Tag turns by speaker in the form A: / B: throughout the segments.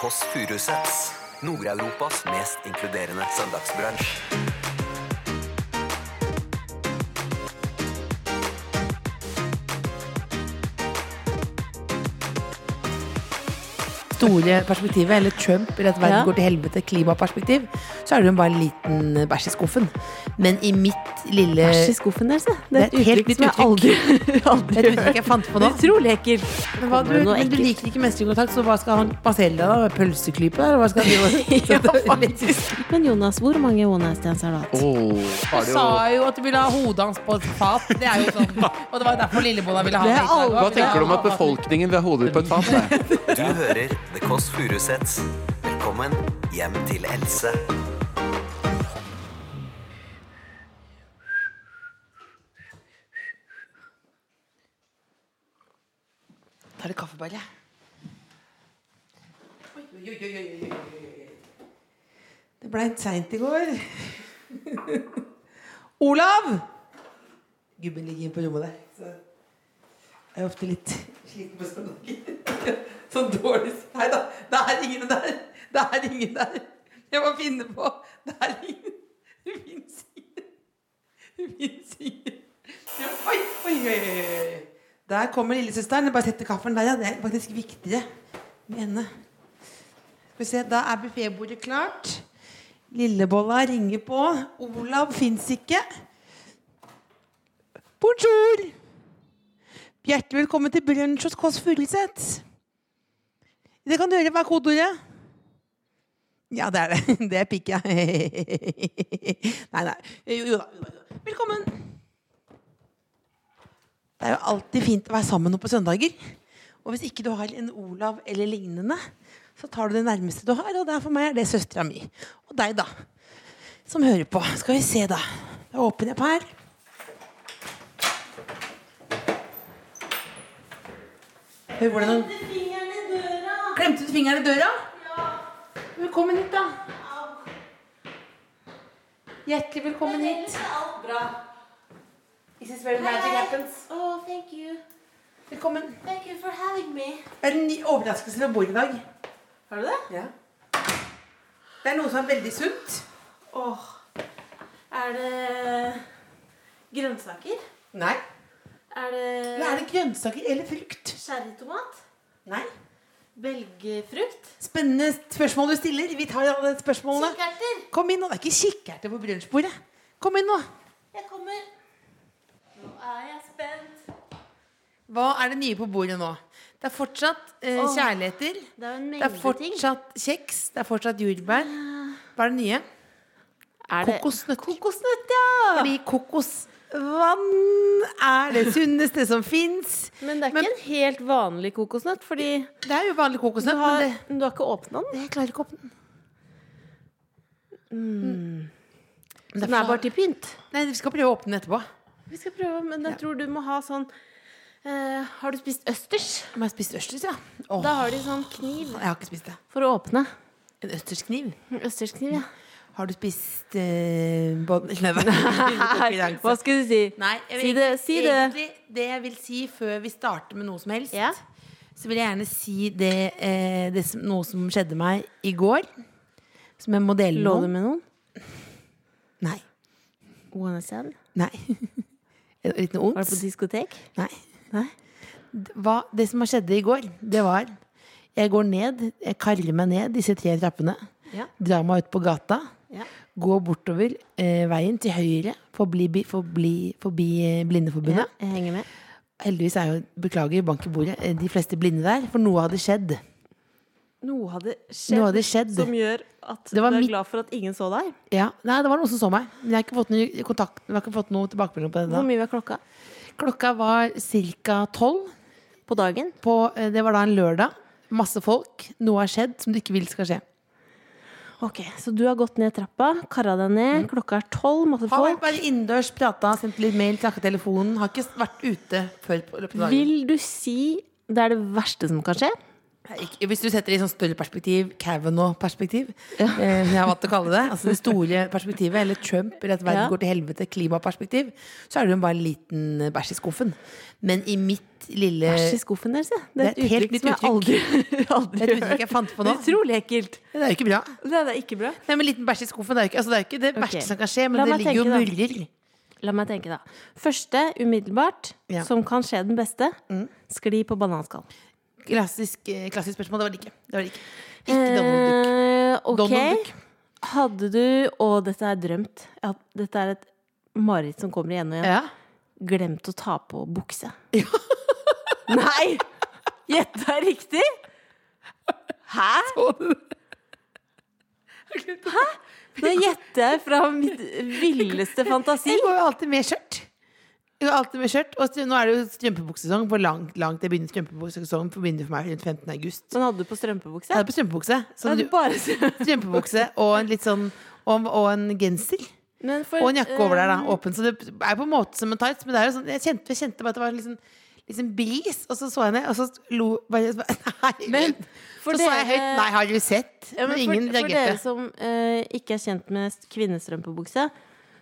A: Kåss Furuseths. Nord-Europas mest inkluderende søndagsbransj.
B: store perspektivet, eller Trump, eller at verden
C: Ja.
B: går til helvete, klimaperspektiv, så er det jo bare en liten bæsj i skuffen. Men i mitt lille
C: Bæsj i skuffen deres, ja. Eh, Det er
B: Det er et
C: et uttrykk som jeg aldri, aldri
B: Det er et uttrykk jeg fant på nå.
C: Utrolig ekkelt.
B: Men, hva, du,
C: Kommer det noe
B: men du
C: ekkelt?
B: liker ikke mesterkontakt, så hva skal han passere deg da? Med pølseklype? Eller hva skal han
C: Ja,
B: gjøre?
C: Men Jonas, hvor mange one night stands har du hatt?
B: Du sa jo at du ville ha hodet hans på et fat. Det er jo sånn. Og det var derfor Lillebolla ville ha
C: Det
B: deg
C: er
B: i dag.
C: alvor.
D: Hva tenker du om at befolkningen vil ha hodet på et fat? nei?
A: Du hører The Kåss Furuseths. Velkommen hjem til Else.
B: Tar du kaffebelle? Det blei seint i går. Olav! Gubben ligger inne på rommet der. Så jeg er ofte litt sliten på søndager. Sånn dårlig Nei da, det er ingen der. Det er ingen der. Jeg må finne på Det er ingen Det fins ingen. Det fins ingen. Ja, Oi, oi, oi, oi, oi. Der kommer lillesøsteren. Jeg Bare setter kaffen der, ja. Det er faktisk viktigere med henne. Skal vi se, Da er buffébordet klart. Lillebolla ringer på. Olav fins ikke. Bonjour! Hjertelig velkommen til brunsj hos Kåss Furuseth. Det kan dere være kodeordet. Ja, det er det. Det er pikk, ja. Nei, nei. Jo, jo da. jo da. Velkommen. Det er jo alltid fint å være sammen nå på søndager. Og hvis ikke du har en Olav eller lignende, så tar du det nærmeste du har. Og der for meg er det søstera mi. Og deg, da. Som hører på. Skal vi se, da. Da åpner jeg opp her. Hør hvordan hun Glemte du fingeren i døra? Velkommen hit, da. Hjertelig velkommen hit. This is where magic happens.
E: Oh, thank you.
B: Velkommen.
E: Thank you for having me.
B: Det er en ny overraskelse ved bordet i dag. Har du det? Ja. Det er noe som er veldig sunt.
E: Åh, er det grønnsaker?
B: Nei.
E: Er
B: Eller er
E: det
B: det grønnsaker eller frukt?
E: sherrytomat?
B: Nei.
E: Belgfrukt?
B: Spennende spørsmål du stiller. Vi tar alle spørsmålene.
E: Kikkerter?
B: Kom inn nå. Det er ikke kikkerter på brunsjbordet. Kom inn nå.
E: Jeg kommer. Nå er jeg spent.
B: Hva er det nye på bordet nå? Det er fortsatt eh,
E: Åh.
B: kjærligheter.
E: Det er jo en
B: Det er
E: mengde ting.
B: fortsatt kjeks. Det er fortsatt jordbær. Hva er det nye?
C: Er det-
B: Kokosnøtt.
C: Kokosnøtt, ja!
B: Fordi kokosvann er det sunneste som fins.
C: Men det er ikke en helt vanlig kokosnøtt, fordi
B: Det er jo vanlig
C: du
B: kokosnøtt,
C: har,
B: men det,
C: du har ikke åpna den.
B: det jeg klarer ikke å åpne den. Men
C: Den er bare til pynt.
B: Nei, vi skal prøve å åpne den etterpå.
C: Vi skal prøve, men jeg tror du må ha sånn eh, Har du spist østers?
B: Om jeg har spist østers, ja. Åh,
C: Da har de sånn kniv
B: Jeg har ikke spist det.
C: for å åpne.
B: En østerskniv?
C: Østerskniv, ja.
B: Har du spist eh, bånd... Nei, hva-
C: Hva skulle du si?
B: Nei, jeg vil
C: Si det,
B: egentlig-
C: si det.
B: Egentlig, det jeg vil si før vi starter med noe som helst,
C: Ja.
B: så vil jeg gjerne si det, eh, det som, noe som skjedde meg i går. Som jeg må dele
C: Lå du
B: med noen.
C: med noen?
B: Nei.
C: One Sand?
B: Nei. En liten
C: Var du på
B: ons?
C: diskotek?
B: Nei.
C: Nei.
B: D- Hva, det som har skjedd i går, det var Jeg går ned, jeg karrer meg ned disse tre trappene.
C: Ja.
B: Drar meg ut på gata.
C: Ja.
B: Går bortover eh, veien til høyre, forbi, bi- forbi, forbi eh,
C: ja.
B: Blindeforbundet.
C: Jeg henger med.
B: Heldigvis er jo, beklager, bank i bordet, eh, de fleste blinde der, for noe hadde skjedd.
C: Noe hadde skjedd,
B: Noe hadde skjedd.
C: som gjør at du
B: Det var
C: er
B: mitt-
C: glad for at ingen så deg.
B: Ja, nei, det var noen som så meg, men jeg har ikke fått noe kontakt, jeg har ikke fått noe tilbakemelding på det
C: Hvor
B: da.
C: mye var klokka?
B: Klokka var ca. tolv.
C: På dagen?
B: på- eh, Det var da en lørdag. Masse folk. Noe har skjedd som du ikke vil skal skje.
C: Ok, Så du har gått ned trappa, karra deg ned,
B: Mm.
C: klokka er tolv, masse
B: Har vært
C: folk.
B: bare innendørs, prata, sendt litt mail, snakka telefonen. Har ikke vært ute før på løpet av dagen.
C: Vil du si det er det verste som kan skje?
B: Ikke- Hvis du setter det i sånn større perspektiv, Kavanaugh-perspektiv, eh, som jeg har valgt å kalle det, altså det store perspektivet, eller Trump, eller at verden
C: Ja.
B: går til helvete, klimaperspektiv, så er det jo bare en liten eh, bæsj i skuffen. Men i mitt lille
C: Bæsj i skuffen deres, ja. Det er et,
B: Eh, Det er et helt
C: uttrykk
B: nytt
C: som jeg aldri, aldri
B: Det er et uttrykk jeg fant på nå.
C: Utrolig ekkelt.
B: Det er jo ikke bra.
C: Det er da ikke bra.
B: Nei, men liten bæsj i skuffen, det er jo ikke, altså, det, er jo ikke det
C: Ok.
B: verste som kan skje, men
C: La
B: det
C: meg
B: ligger jo
C: tenke,
B: murrer.
C: La meg tenke, da. Første umiddelbart,
B: Ja. Mm.
C: som kan skje den beste, skli på bananskall.
B: Klassisk, eh, klassisk spørsmål. Det var det ikke. Det var det ikke. ikke Donald Duck.
C: Eh, ok.
B: Donald Duck.
C: Hadde du Å, dette er drømt. Ja, dette er et mareritt som kommer igjen og igjen.
B: Ja.
C: Glemt å ta på bukse. Nei! Gjett det er riktig! Hæ? Hæ? Nå gjetter jeg fra mitt villeste fantasi.
B: Jeg går jo alltid med skjørt. Jeg går alltid med skjørt Og nå er det jo strømpebuksesong. Hvor langt, langt det begynner strømpebuksesesongen for begynner for meg rundt 15. august.
C: Men hadde du på strømpebukse?
B: Jeg hadde på strømpebukse.
C: Da
B: Så
C: er
B: du,
C: det bare strøm-
B: strømpebukse og en litt sånn og, og en genser.
C: Men for,
B: Og en jakke over der, da.
C: eh,
B: Åpen. Så det er på en måte som en tights, men det er jo sånn Jeg kjente, jeg kjente bare at det var liksom Liksom bris, og så så jeg ned, og så lo bare, Nei,
C: Men
B: så
C: for
B: så jeg høyt.
C: dere-
B: Nei, har du sett?
C: Ja, men
B: men ingen
C: for, for dere
B: reagerte.
C: som eh, ikke er kjent med st- kvinnestrømpebukse,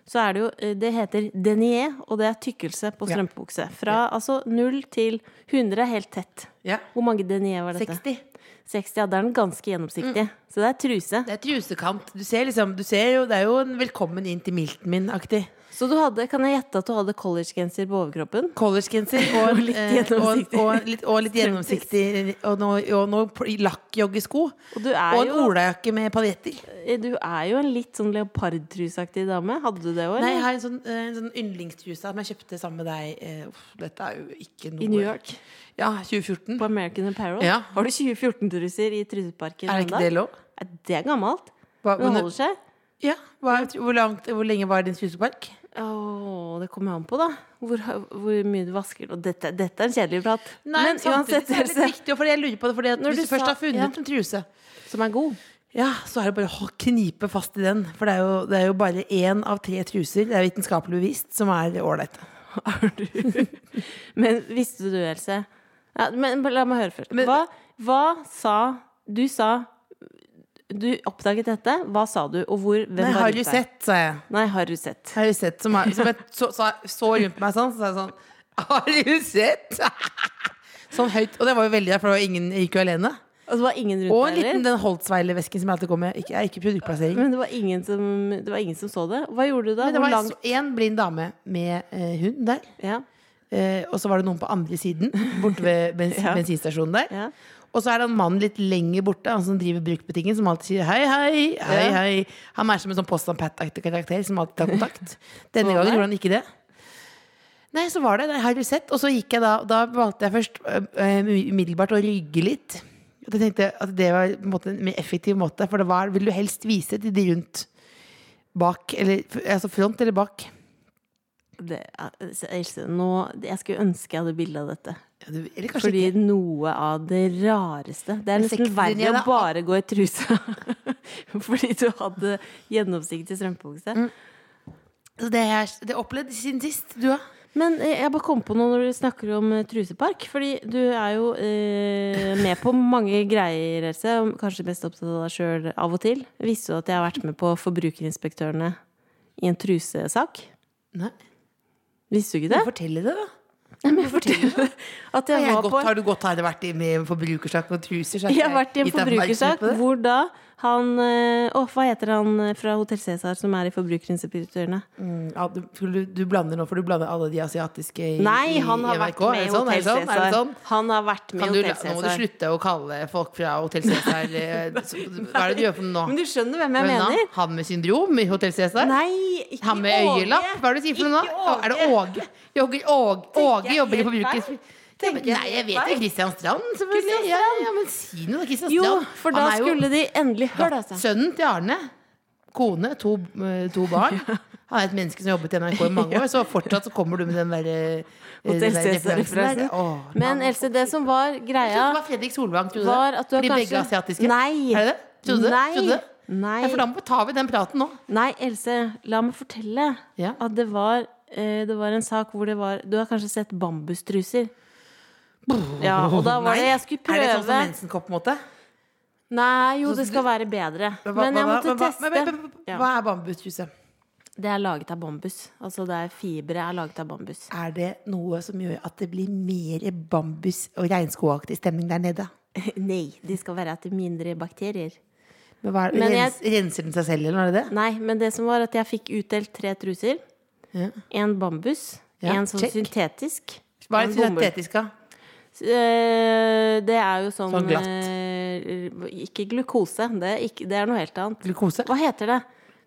C: så er det jo eh, Det heter denier, og det er tykkelse på
B: Ja.
C: strømpebukse. Fra altså 0 til 100 er helt tett.
B: Ja.
C: Hvor mange denier var dette?
B: 60.
C: 60, ja, Da er den ganske gjennomsiktig. Så det er truse.
B: Mm. Det er trusekant. Du ser liksom du ser jo, Det er jo en 'velkommen inn til milten min'-aktig.
C: Så du hadde, kan jeg gjette at du hadde collegegenser på overkroppen?
B: Collegegenser og,
C: Og litt
B: eh, og,
C: gjennomsiktig.
B: og, litt, og litt gjennomsiktig Og noe, og noe pl- lakkjoggesko.
C: Og du er,
B: Og en
C: jo, eh,
B: olajakke med paljetter.
C: du er jo en litt sånn leopardtruseaktig dame. Hadde du det òg?
B: Nei, jeg har en sånn, eh, en sånn yndlingstruse som jeg kjøpte sammen med deg. eh, Uff, dette er jo ikke noe
C: I New York?
B: Ja, 2014.
C: På American Apparel?
B: Ja.
C: Har du 2014-truser i truseparken?
B: Er det
C: ennå?
B: ikke det lov?
C: Nei, Det er gammelt.
B: Hva, men-
C: Men det holder seg.
B: ja, hva, er- hvor, langt, hvor lenge var din trusepark?
C: Åh, det kommer jo an på, da. Hvor, hvor mye du vasker. Og dette, dette er en kjedelig prat. men
B: samtidig
C: uansett,
B: så er det litt
C: Else,
B: viktig, for jeg lurer på det, fordi at
C: Når
B: hvis
C: du
B: du, først
C: sa-
B: har funnet
C: ja.
B: en truse
C: som er god.
B: Ja, så er det bare å ha- knipe fast i den. For det er jo, det er jo bare én av tre truser, det er vitenskapelig bevist, som er ålreite.
C: Men visste du, Else ja, Men la meg høre først. Hva, hva sa Du sa Du oppdaget dette. Hva sa du, og hvor? Hvem
B: Nei, har
C: var rundt
B: du
C: deg?
B: sett, sa jeg.
C: Nei, har du sett?
B: Har du sett som er, som jeg så, så, så rundt meg sånn, så sa jeg sånn Har du sett? Sånn høyt. Og det var jo veldig rart, for det var ingen jeg gikk jo alene.
C: Og det var
B: Og
C: ingen rundt
B: en
C: deg
B: liten
C: heller?
B: den Holtzweiler-vesken som jeg alltid går med. Ikke, er ikke produktplassering.
C: Men det var, ingen som, det var ingen som så det? Hva gjorde du da?
B: Men det
C: Hvor
B: var
C: langt?
B: én blind dame med eh, hund der.
C: Ja,
B: Eh, og så var det noen på andre siden, borte ved bens
C: Ja.
B: bensinstasjonen der.
C: ja.
B: Og så er det en mann litt lenger borte, han som driver bruktbutikken, som alltid sier hei, hei, hei,
C: Ja.
B: hei. Han er som en sånn Post and Pat-aktig karakter som alltid tar kontakt. Denne
C: Så
B: gangen
C: der.
B: gjorde han ikke det. Nei, så var det. Nei, har du sett? Og så gikk jeg da Da valgte jeg først øh, øh, umiddelbart å rygge litt. Og jeg tenkte at det var på en, måte, en mer effektiv måte, for det var, vil du helst vise til de rundt bak, eller altså front eller bak.
C: Det, Else, nå, jeg skulle ønske jeg hadde bilde av dette.
B: Ja, du- Eller kanskje
C: Fordi
B: ikke.
C: noe av det rareste Det er nesten
B: Sekten din,
C: verre
B: ja,
C: å
B: da.
C: bare gå i trusa fordi du hadde gjennomsiktig strømpebukse.
B: Mm. Så det har jeg- det har jeg opplevd siden sist. Du, da?
C: Men eh, jeg bare kom på noe når du snakker om eh, trusepark. Fordi du er jo eh, med på mange greier, Else. og Kanskje mest opptatt av deg sjøl av og til. Visste du at jeg har vært med på Forbrukerinspektørene i en trusesak?
B: Nei.
C: Visste du ikke det?
B: Fortell det, da.
C: At
B: Har,
C: jeg
B: jeg
C: var
B: gått,
C: på
B: har du gått her og vært i med forbrukersak og truser? så
C: Jeg har vært i en
B: gitt deg oppmerksomhet
C: forbrukersak
B: på det?
C: hvor da han eh, Åh, hva heter han eh, fra Hotell Cæsar som er i Forbrukerinspektørene?
B: Mm, ja, du, for du, du blander nå, for du blander alle de asiatiske i,
C: Nei, han har
B: i
C: vært
B: NRK.
C: med i
B: Er det sånn? Er
C: Hotell
B: det sånn? Er det
C: Cæsar.
B: sånn?
C: Han har vært med
B: Kan
C: i
B: du,
C: Hotell
B: nå må du
C: Cæsar.
B: slutte å kalle folk fra Hotell Cæsar eh, så- Hva er det du gjør for noe nå?
C: Men du skjønner hvem jeg
B: Hvem da?
C: mener?
B: Han med syndrom i Hotell Cæsar?
C: Nei, ikke
B: Han med øyelapp? Hva er det du sier for noe nå? Er det Åge? Åge, Åge,
C: jeg
B: Åge jobber i
C: helt feil?
B: Forbruker...
C: Tenker jeg
B: Nei, jeg
C: helt
B: vet jo
C: feil?
B: Christian Strand, selvfølgelig. Ja, ja, men si noe, da. Christian Strand.
C: Jo, for da
B: Han er jo-
C: skulle de endelig altså. Hør, da, sa han.
B: Sønnen til Arne, kone, to, eh, to barn. Han er et menneske som har jobbet i NRK i mange år, så fortsatt så kommer du med den der, eh, den
C: Hotell
B: der
C: Cæsar-referansen.
B: referansen der. Åh,
C: sånn. Men Else, det som var
B: Jeg trodde
C: greia
B: det var Fredrik Solvang, trodde
C: var
B: det?
C: at du har
B: Fordi
C: kanskje
B: begge er asiatiske?
C: Nei.
B: Er det det? Trodde du det?
C: Nei.
B: Trodde du det?
C: Nei.
B: Ja, for da må- tar vi den praten nå.
C: Nei, Else, la meg fortelle
B: Ja.
C: at det var, eh, det var en sak hvor det var Du har kanskje sett bambustruser? Ja, og da var det Jeg skulle
B: Er det sånn som
C: prøve
B: mensenkopp, på en måte?
C: Nei, jo,
B: Sånn
C: det
B: som
C: skal være bedre.
B: Hva- hva-
C: Men jeg
B: hva-
C: måtte
B: hva- hva- hva-
C: teste.
B: hva- hva-
C: Ja.
B: Hva er bambusjuice?
C: Det er laget av bambus. Altså det er fibre er laget av bambus.
B: Er det noe som gjør at det blir mer bambus- og regnskogaktig stemning der nede?
C: Nei, de skal være etter mindre bakterier.
B: Men hva er,
C: Men jeg-
B: rens, Renser den seg selv, eller hva er det det?
C: Nei, men det som var at jeg fikk utdelt tre truser.
B: Ja.
C: En bambus,
B: Ja,
C: en sånn
B: check.
C: syntetisk.
B: Hva er
C: en
B: det
C: bomull.
B: syntetisk, da?
C: Eh, Det er jo sånn,
B: Sånn glatt.
C: eh, Ikke glukose, det er, ikke, det er noe helt annet.
B: Glukose?
C: Hva heter det?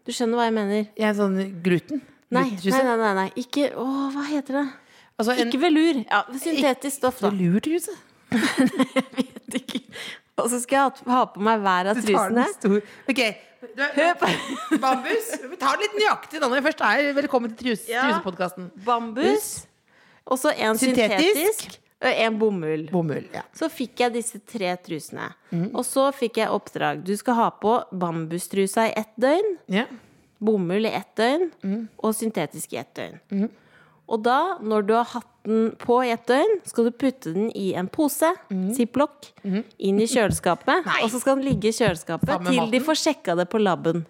C: Du skjønner hva jeg mener?
B: Ja, en sånn gluten?
C: Nei, nei,
B: Glutentruse?
C: nei. nei, nei. Ikke Å, hva heter det?
B: Altså, en
C: Ikke velur. Ja, syntetisk stoff, da.
B: velurtruse?
C: vet ikke. Og så skal jeg ha- ha på meg hver av
B: Du tar den
C: trusene.
B: stor- Ok. Du er-
C: Høp.
B: Bambus. Vi tar det litt nøyaktig da når vi først er velkommen til trus,
C: Ja.
B: Trusepodkasten.
C: Bambus. Og så en
B: Syntetisk.
C: syntetisk. Og en bomull.
B: Bomull. Ja.
C: Så fikk jeg disse tre trusene.
B: Mm.
C: Og så fikk jeg oppdrag. Du skal ha på bambustrusa i ett døgn,
B: ja.
C: bomull i ett døgn
B: Mm.
C: og syntetisk i ett døgn. Og da, når du har hatt den på i ett døgn, skal du putte den i en pose,
B: Mm.
C: ziplock, inn i kjøleskapet. Og så skal den ligge i kjøleskapet
B: Sammen med
C: til de
B: maten.
C: får sjekka det på laben.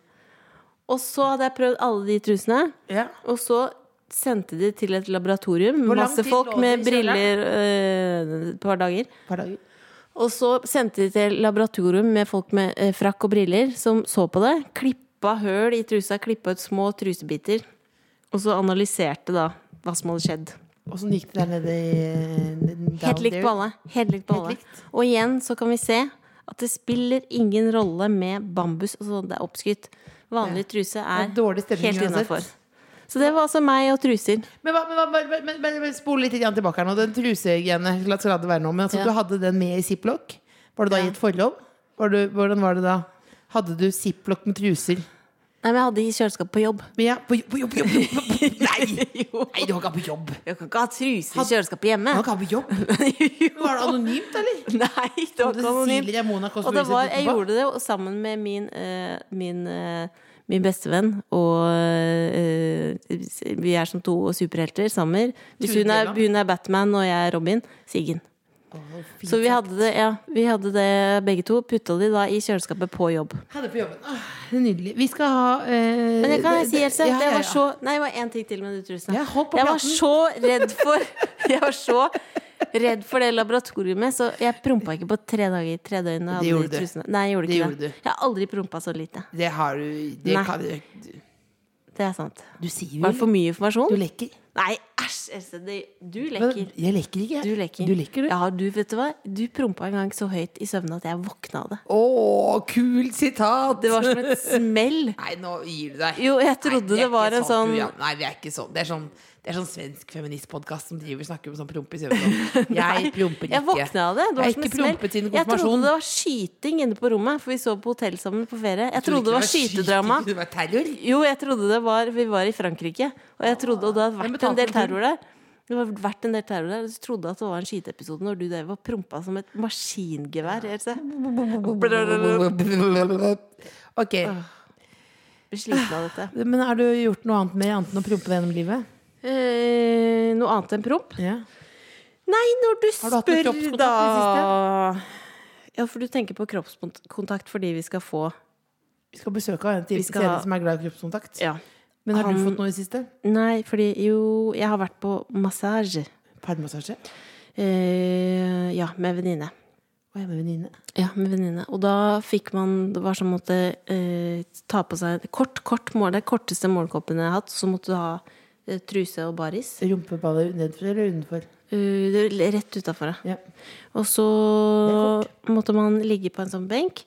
C: Og så hadde jeg prøvd alle de trusene.
B: Ja.
C: Og så sendte de til et laboratorium
B: Hvor
C: med
B: lang
C: masse
B: tid
C: folk
B: lå
C: med
B: det i kjelleren?
C: briller øh, et par dager.
B: Hver dag.
C: Og så sendte de til laboratorium med folk med eh, frakk og briller som så på det. Klippa høl i trusa, klippa ut små trusebiter. Og så analyserte da hva som hadde skjedd.
B: Og sånn gikk det der nede i
C: Helt likt på alle. Helt likt på
B: Helt
C: alle.
B: likt.
C: Og igjen så kan vi se at det spiller ingen rolle med bambus. Altså det er oppskrytt. Vanlig truse er
B: Det er dårlig stemning
C: helt
B: uansett.
C: innafor. Så det var altså meg og truser.
B: Men, hva- men, hva- men, men, men, men, men spole litt grann tilbake her nå. Den trusegreiene la skal la det være nå. Men altså,
C: Ja.
B: du hadde den med i ziplock. Var du da i et forhold? Var du, hvordan var det da? Hadde du ziplock med truser?
C: Nei, men jeg hadde i kjøleskapet på jobb.
B: Men ja, på jobb, på jobb, på jobb, på jobb. Nei! Nei, du har ikke hatt på jobb.
C: Jeg kan ikke ha truser i kjøleskapet hjemme.
B: Du har ikke hatt på jobb. Var det anonymt, eller?
C: Nei, det var ikke anonymt.
B: Cecilia Monaco
C: Og det var, jeg gjorde det jo sammen med min, eh, min, eh, min bestevenn, og eh, vi er som to superhelter sammen. Hvis hun er, hun er Batman og jeg er Robin, Siggen. Så vi hadde det, ja, vi hadde det begge to. Putta de da i kjøleskapet på jobb.
B: Hadde på jobben. Åh, det er nydelig. Vi skal ha eh,
C: Men jeg kan si, Else,
B: ja, ja,
C: det var
B: ja.
C: så Nei, det var én ting til med de trusene.
B: Ja, hold på
C: jeg var
B: praten.
C: så redd for Jeg var så redd for det laboratoriet, så jeg prompa ikke på tre dager. Tre døgn og
B: Det
C: hadde
B: gjorde
C: de
B: du.
C: trusene. Nei, jeg gjorde
B: Det
C: ikke
B: gjorde
C: det.
B: du.
C: Jeg har aldri prompa så lite.
B: Det har du det
C: Nei.
B: kan,
C: Det er sant.
B: Du sier
C: Var det
B: jo
C: for mye
B: Du
C: informasjon?
B: lekker.
C: Nei, æsj, Else. Det, du
B: Men
C: lekker.
B: Jeg lekker ikke. jeg.
C: Du lekker.
B: Du lekker, du.
C: Ja, du, vet du hva? Du prompa en gang så høyt i søvne at jeg våkna av det.
B: Å, kult sitat!
C: Det var som et smell.
B: Nei, nå gir du deg.
C: Jo, jeg trodde
B: vi er
C: det var
B: ikke
C: en sånn-
B: program. Nei, vi er ikke sånn. Det er sånn, det er sånn svensk feministpodkast som driver og snakker om sånn promp i søvnen. Jeg promper ikke.
C: Jeg våkna av det. Det
B: Jeg
C: var
B: har
C: som
B: ikke
C: et smell.
B: prompet siden
C: Jeg trodde
B: konfirmasjon.
C: det var skyting inne på rommet, for vi så på hotell sammen på ferie. Jeg
B: Trodde
C: trodde det var
B: ikke
C: skytedrama.
B: skyting, Det var terror.
C: Jo, jeg trodde det var Vi var i Frankrike, og jeg trodde Og det hadde
B: Hvem
C: vært
B: betalte
C: en del
B: for turen?
C: terror der. Det har vært en del terror der og Jeg trodde at det var en skyteepisode når du drev og prompa som et maskingevær. Else.
B: Ok,
C: Jeg Blir sliten av dette.
B: men har du gjort noe annet med annet enn å prompe gjennom livet?
C: Eh, noe annet enn promp?
B: Ja.
C: Nei, når du
B: Har du hatt noe
C: spør,
B: kroppskontakt i det
C: da Ja, for du tenker på kroppskontakt fordi vi skal få
B: Vi skal besøke en til
C: Vi skal
B: scenen
C: ha-
B: som er glad i kroppskontakt.
C: Ja.
B: Men har
C: Han-
B: du fått noe i det siste?
C: Nei, fordi jo Jeg har vært på massasje.
B: Pardmassasje?
C: Eh, ja, med venninne.
B: Og jeg med venninne.
C: Ja, med venninne. Og da fikk man Det var som måtte eh, ta på seg kort, kort mål. Det korteste målkoppen jeg har hatt. Så måtte du ha eh, truse og baris.
B: Rumpeballer nedenfor eller utenfor?
C: Eh, det er rett utafor, ja.
B: Ja.
C: Og så måtte man ligge på en sånn benk.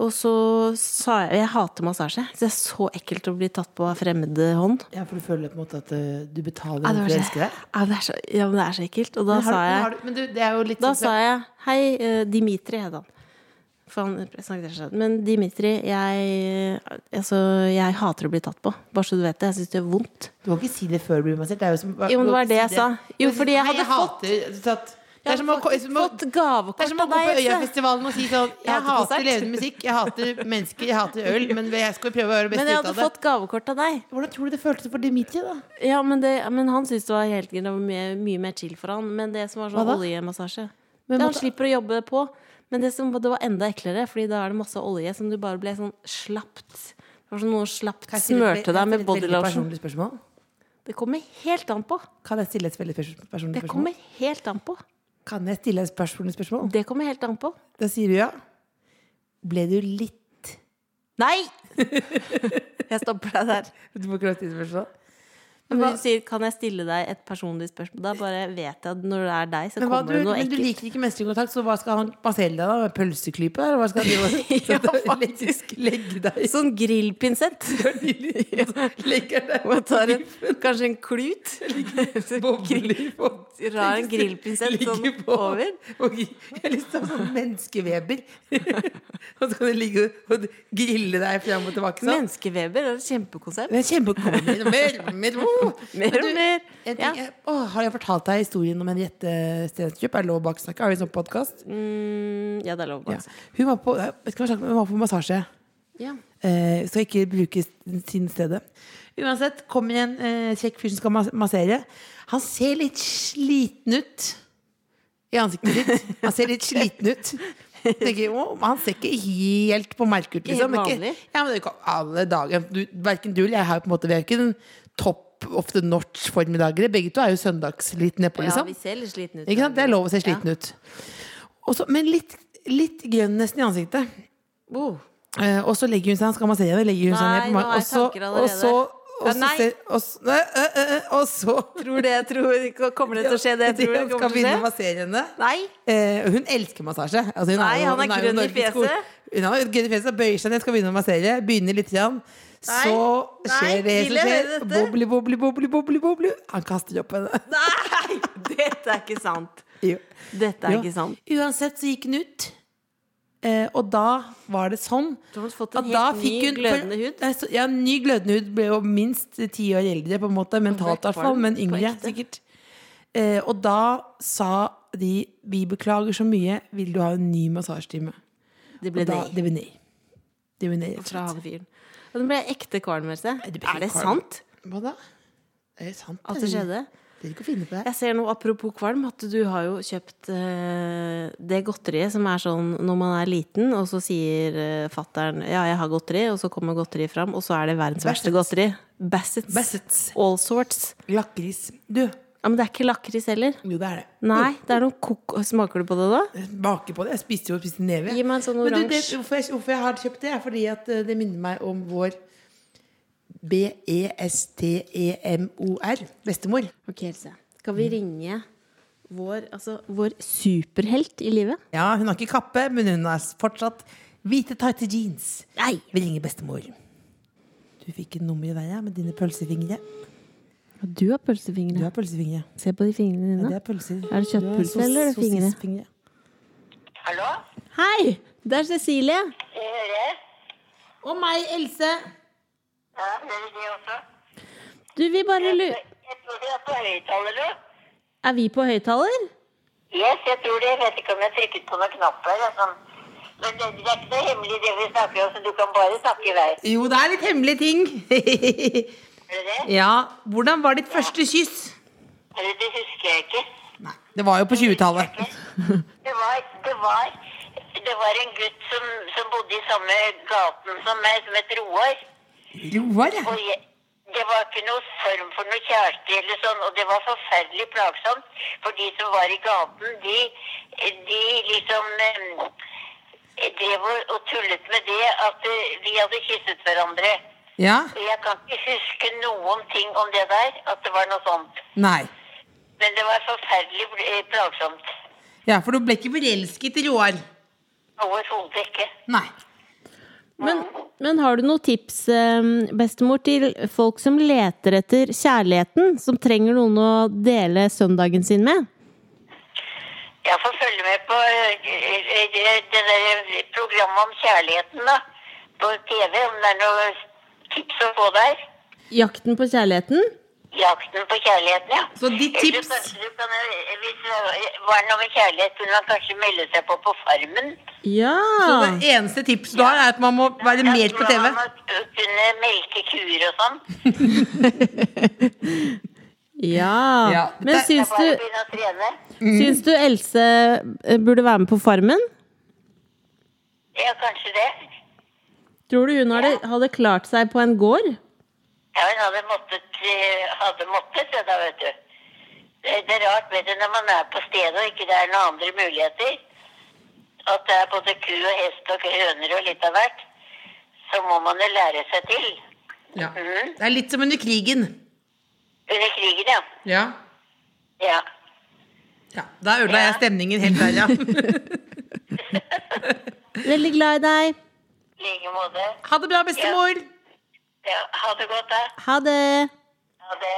C: Og så sa jeg Jeg hater massasje. Så det er så ekkelt å bli tatt på av fremmed hånd.
B: ja, for du føler på en måte at eh, du betaler
C: Ja,
B: noen
C: det var
B: for å
C: så-
B: elske deg?
C: Ja, det er så, ja, men det er så ekkelt. Og da
B: Men har
C: sa
B: du-
C: jeg
B: men har du- Men du, det er jo litt
C: Da
B: sånn
C: sa jeg Hei, eh, Dimitri het han. For han presenterte seg. Men Dimitri, jeg, altså, jeg hater å bli tatt på. Bare så du vet det. Jeg syns det gjør vondt.
B: Du kan ikke si det før du blir massert. Det er jo som,
C: Jo, men det var det jeg sa. Jo, fordi jeg
B: Nei,
C: hadde
B: hater- så at- Det er som å,
C: fått,
B: som å
C: fått gavekort
B: det er som å
C: av
B: gå på
C: deg, Else.
B: Øyafestivalen og si sånn Jeg,
C: hater
B: hater
C: konsert.
B: levende musikk, jeg hater mennesker, jeg hater øl, men jeg skal prøve å gjøre det
C: Men jeg
B: beste ut
C: hadde
B: av det.
C: fått gavekort av deg.
B: Hvordan tror du det føltes for Dimitri, da?
C: Ja, men, det, men han syntes det var helt greit. Det var mye, mye mer chill for han. Men det som var
B: Hva
C: sånn
B: da?
C: oljemassasje
B: Men
C: det, Han
B: måtte-
C: slipper å jobbe på. Men det, som, det var enda eklere, Fordi da er det masse olje som du bare ble sånn slapt Det var som noe slapt
B: Kan jeg stille et-
C: smørte
B: kan
C: deg med
B: jeg stille et
C: body
B: veldig
C: lotion.
B: personlig spørsmål?
C: Det kommer helt an på.
B: Kan jeg stille et veldig pers- personlig
C: Det
B: spørsmål?
C: kommer helt an på.
B: Kan jeg stille et personlig spørsmål?
C: Det kommer helt an på.
B: Da sier du ja. Ble du litt
C: Nei! Jeg stopper deg der.
B: Du får ikke lov til å stille spørsmål.
C: Men når du sier 'kan jeg stille deg et personlig spørsmål', da bare vet jeg at når det er deg, så
B: Men, hva,
C: kommer
B: du,
C: det noe
B: men du
C: ekkelt.
B: liker ikke mesterkontakt, så hva skal han basere deg da? Med pølseklype? Eller hva skal Sånn han
C: Ja,
B: gjøre? legge, legge deg i
C: Sånn grillpinsett.
B: Legger deg
C: Og tar en, kanskje en klut. Grill- Rar en grillpinsett sånn
B: Ligger på.
C: over.
B: og gri- Jeg har lyst til å ha sånn menneskeveber. og så kan du ligge og grille deg fram og tilbake. Sånn.
C: Menneskeveber er et kjempekonsept.
B: Det er kjempekommet. Mer, mer, oh.
C: Mer
B: Men
C: og
B: du,
C: mer.
B: En ting,
C: Ja.
B: jeg, åh, har jeg fortalt deg historien om Henriette Stenskjøp? Er det lov å baksnakke? Har vi sånn podkast?
C: Mm, ja, det er lov å
B: Ja.
C: si.
B: Hun, var på- jeg vet ikke hva jeg snakket om, hun var på massasje.
C: Ja.
B: Eh, skal ikke bruke sin stedet. Uansett, kommer en eh, kjekk fyr som skal mas- massere. Han ser litt sliten ut i ansiktet sitt. Han ser litt sliten ut. Tenker, «Å, han ser ikke helt på merket ut, liksom.
C: Helt
B: Ikke-
C: vanlig.
B: Ja, men det er ikke alle dager. Du, verken du eller jeg har jo på en måte Vi er jo ikke den topp of the notch formiddager. Begge to er jo søndags litt nedpå,
C: ja,
B: liksom.
C: vi ser litt slitne ut.
B: Ikke sant? Det er lov å se sliten ut. Og så- men litt, litt grønn nesten i ansiktet.
C: Oh.
B: Eh, og så legger hun seg, han skal massere henne, legger hun seg
C: Nei,
B: ned på meg,
C: nå er
B: og så,
C: tanker
B: og
C: allerede.
B: så, og
C: Ja,
B: så,
C: nei.
B: ser- og så, nei, øh, øh, øh, og så
C: Tror det, tror Kommer det til å skje det? Tror
B: Han
C: det
B: skal begynne å
C: kommer til å skje?
B: massere henne.
C: Nei.
B: Eh, hun elsker massasje. Altså, hun
C: Nei,
B: jo-
C: han er
B: hun jo
C: grønn i
B: Norges
C: fjeset.
B: skole- Hun er grønn i fjeset, bøyer seg ned, skal begynne å massere. Begynner litt. Grann.
C: Nei,
B: Så
C: nei,
B: skjer det
C: vil
B: som
C: jeg
B: skjer.
C: høre dette?
B: Bobli, bobli, bobli, bobli, bobli. Han kaster opp henne.
C: Nei! Dette er ikke sant.
B: Jo.
C: Dette er
B: Jo.
C: ikke sant.
B: Uansett så gikk hun ut. Eh, og da var det sånn
C: Du har fått
B: at
C: en
B: da
C: helt ny
B: fikk hun
C: glødende hud.
B: Nei, så- Ja, ny glødende hud ble jo minst ti år eldre, på en måte. Mentalt, i hvert fall.
C: kvalm
B: Men
C: på
B: yngre,
C: ekte.
B: sikkert. Eh, og da sa de 'Vi beklager så mye. Vil du ha en ny massasjetime?'
C: Det
B: Og
C: ble
B: da
C: nei.
B: Det ble nei. Det ble nei. rett og
C: fra
B: slett.
C: han fyren. Og den ble ekte kvalm. Else.
B: det ble
C: Er det
B: kvalm.
C: sant
B: Hva da? Er det sant?
C: at det skjedde?
B: Det er ikke å finne på det.
C: Jeg ser nå, apropos kvalm, at du har jo kjøpt eh, det godteriet som er sånn når man er liten, og så sier eh, fattern 'ja, jeg har godteri', og så kommer godteriet fram, og så er det verdens verste godteri. Bassets.
B: Bassets.
C: All sorts.
B: Lakris. Du.
C: Ja, Men det er ikke lakris heller.
B: Jo, det er det.
C: Nei, det er noe kok... Smaker du på det da?
B: bake på det. Jeg spiste jo spiste neve.
C: Gi meg en sånn
B: Men du, det,
C: oransje.
B: hvorfor, jeg, hvorfor jeg har kjøpt det, er fordi at eh, det minner meg om vår E B-E-S-T-E-M-O-R. Bestemor.
C: Ok, Else. Skal vi ringe vår, altså, vår superhelt i livet?
B: Ja, hun har ikke kappe, men hun har fortsatt hvite, tighte jeans.
C: Nei!
B: Vi ringer bestemor. Du fikk en nummer i været med dine pølsefingre.
C: Du har pølsefingre.
B: Du har pølsefingre.
C: Se på de fingrene
B: Ja,
C: dine.
B: det er pølser.
C: Er det
B: Du
C: kjøttpølse,
B: har sos-
C: eller er det fingre?
B: sossisfingre.
F: Hallo?
C: Hei! Det er Cecilie.
F: Jeg hører.
B: Og meg, Else.
F: Ja, hører de også?
C: Du, vi
B: Eh,
C: bare lurer
F: Jeg tror de er på høyttaler nå.
C: Er vi på høyttaler?
F: Yes, jeg tror det. Jeg vet ikke om jeg trykket på noen knapper. jeg, Sånn. Men det, det er ikke noe hemmelig det vi snakker om, så du kan bare snakke i vei.
B: Jo, det er litt hemmelige ting.
F: Hører du det?
B: ja. Hvordan var ditt første kyss?
F: Eller det husker jeg ikke.
B: Nei, det var jo på 20-tallet.
F: Det var, det var, det var en gutt som, som bodde i samme gaten som meg, som het Roar.
B: Roar, ja.
F: Og jeg, det var ikke noe form for noe kjæreste eller sånn, og det var forferdelig plagsomt. For de som var i gaten, de, de liksom eh, drev og, og tullet med det at eh, vi hadde kysset hverandre.
B: Ja?
F: Og jeg kan ikke huske noen ting om det der, at det var noe sånt.
B: Nei.
F: Men det var forferdelig eh, plagsomt.
B: Ja, for du ble ikke forelsket i Roar.
F: Overhodet ikke.
B: Nei.
C: Men, men har du noen tips, eh, bestemor, til folk som leter etter kjærligheten? Som trenger noen å dele søndagen sin med?
F: Jeg får følge med på eh, eh, det det der eh, programmet om kjærligheten, da. På TV, om det er noe tips å få der.
C: Jakten på kjærligheten?
F: Jakten på kjærligheten, ja.
B: Så ditt
F: Eller
B: tips-
F: kanskje du kan, eh, Hvis det var noe med kjærlighet, kunne man kanskje melde seg på på Farmen.
C: Ja!
B: Så det eneste tipset du har, er at man må være
F: Ja,
B: mer på
F: man-
B: TV.
F: Man må kunne melke kuer og sånn.
C: Ja.
B: Ja.
C: Men
B: Det- Mm.
F: Det
C: syns du, syns
F: er bare å begynne å trene.
C: du Else eh, burde være med på Farmen?
F: Ja, kanskje det.
C: Tror du hun hadde, hadde klart seg på en gård?
F: Ja, hun hadde måttet, eh, hadde måttet det da, vet du. Det, det er rart vet du, når man er på stedet og ikke det er noen andre muligheter. At det er både ku og hest og høner og litt av hvert. Så må man jo lære seg til.
B: Ja.
F: Mhm.
B: Det er litt som under krigen.
F: Under krigen, ja.
B: Ja.
F: ja.
B: ja. Da ødela jeg stemningen helt der, ja.
C: Veldig glad i deg.
F: I like måte.
B: Ha det bra, bestemor.
F: Ja, ha det godt, da.
C: Ha det.
F: Ha det.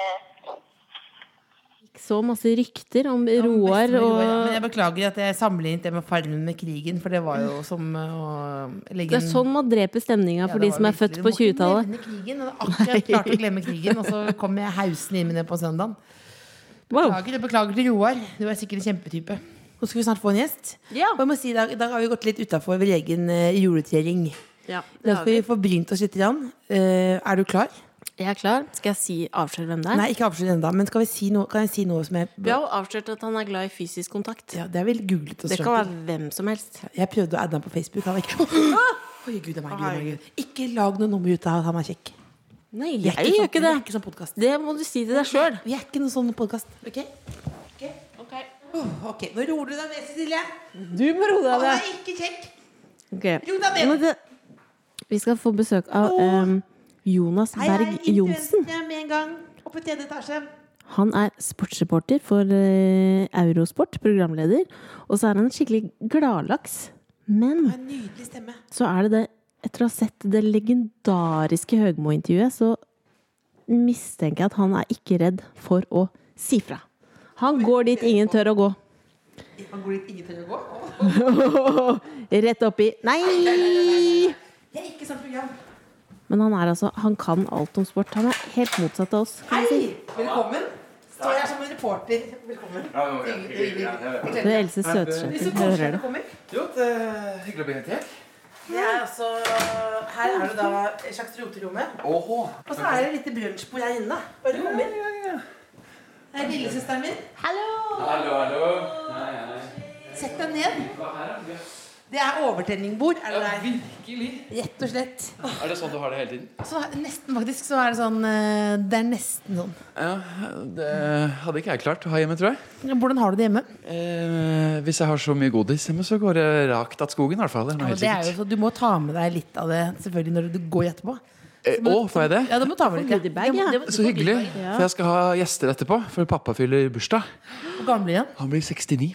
C: Så masse rykter om Roar
B: Bestemor,
C: og
B: ja. Men jeg beklager at jeg sammenlignet det med farmen med krigen, for det var jo som eh, å legge
C: Det er sånn man dreper stemninga
B: Ja,
C: for
B: det
C: de
B: var
C: som er
B: virkelig-
C: født
B: du
C: på
B: må ikke
C: 20-tallet.
B: nevne krigen, og Akkurat klarte å glemme krigen, og så kom jeg hausende inn i det på søndagen.
C: Wow.
B: Beklager, og beklager til Roar. Du er sikkert en kjempetype. Oh. Nå skal vi snart få en gjest.
C: Ja.
B: Og jeg må si, I dag, i dag har vi gått litt utafor vår egen eh, juletrering.
C: Ja,
B: Da skal vi få brynt oss litt. Grann. Eh, er du klar?
C: Jeg er klar. Skal jeg si avsløre hvem det er?
B: Nei, ikke avslutt ennå, men skal vi si noe, kan jeg si noe som jeg
C: Vi har jo avslørt at han er glad i fysisk kontakt.
B: ja, Det er vel googlet oss
C: Det kan
B: fram til.
C: være hvem som helst.
B: Jeg prøvde å adde ham på Facebook. Han var ikke Oi, Gud, det er meg, Gud, det er meg, Gud. Ikke lag noe nummer ut av at han er kjekk.
C: Nei,
B: Vi
C: jeg
B: er ikke
C: gjør
B: sånn-
C: ikke
B: vi
C: det.
B: er ikke sånn podcast.
C: Det må du si til deg sjøl.
B: Vi er ikke noen sånn podkast. Okay? Okay? Åh, Oh, ok, Nå roer du deg ned, Cecilie.
C: Du må roe
B: Han er ikke kjekk. Ro deg ned.
C: Vi skal få besøk av
B: Åh.
C: em, Jonas
B: Hei, hei,
C: Berg Johnsen.
B: influenseren er med en gang. Oppe i tredje etasje.
C: Han er sportsreporter for eh, Eurosport, programleder. Og så er han en skikkelig gladlaks. Men
B: Har en nydelig stemme.
C: så er det det Etter å ha sett det legendariske Høgmo-intervjuet, så mistenker jeg at han er ikke redd for å si fra. Han går dit ingen tør å gå.
B: Han går dit ingen tør å gå. Åh.
C: Rett opp i Nei!
B: Det er ikke sånn program.
C: Men han er altså Han kan alt om sport. Han er helt motsatt av oss. Kan
B: Hei,
C: jeg si.
B: velkommen. Står jeg som en reporter. Velkommen. Hyggelig, hyggelig.
C: Det er Else Søtsletten. Hører du?
B: kommer.
G: Jo, det er hyggelig å bli invitert.
B: Det er altså, her er det da et slags roteromme.
G: Åhå.
B: Og så er det et lite brunsjbord her inne. Bare kom inn. Det er lillesøsteren min.
G: Hallo, hallo. Nei, nei.
B: Sett deg ned. Det er overtenninggbord. Er det der?
G: Virkelig.
B: Rett og slett.
G: Er det sånn du har det hele tiden?
B: Så nesten faktisk så er det sånn eh, Det er nesten sånn.
G: Ja, det hadde ikke jeg klart å ha hjemme, tror jeg.
B: Hvordan har du det hjemme?
G: Eh, hvis jeg har så mye godis hjemme, så går det rakt at skogen, i hvert fall. Det er noe
B: Ja,
G: helt
B: det er jo
G: sikkert.
B: så, du må ta med deg litt av det selvfølgelig når du går etterpå.
G: Eh, Å, får jeg det?
B: Ja, du må ta med litt.
C: goodiebag,
B: Du må-
C: ja.
B: du må- du
G: Så
B: må-
G: hyggelig, for jeg skal ha gjester etterpå. For pappa fyller bursdag.
B: Hvor gammel blir han?
G: Han blir 69.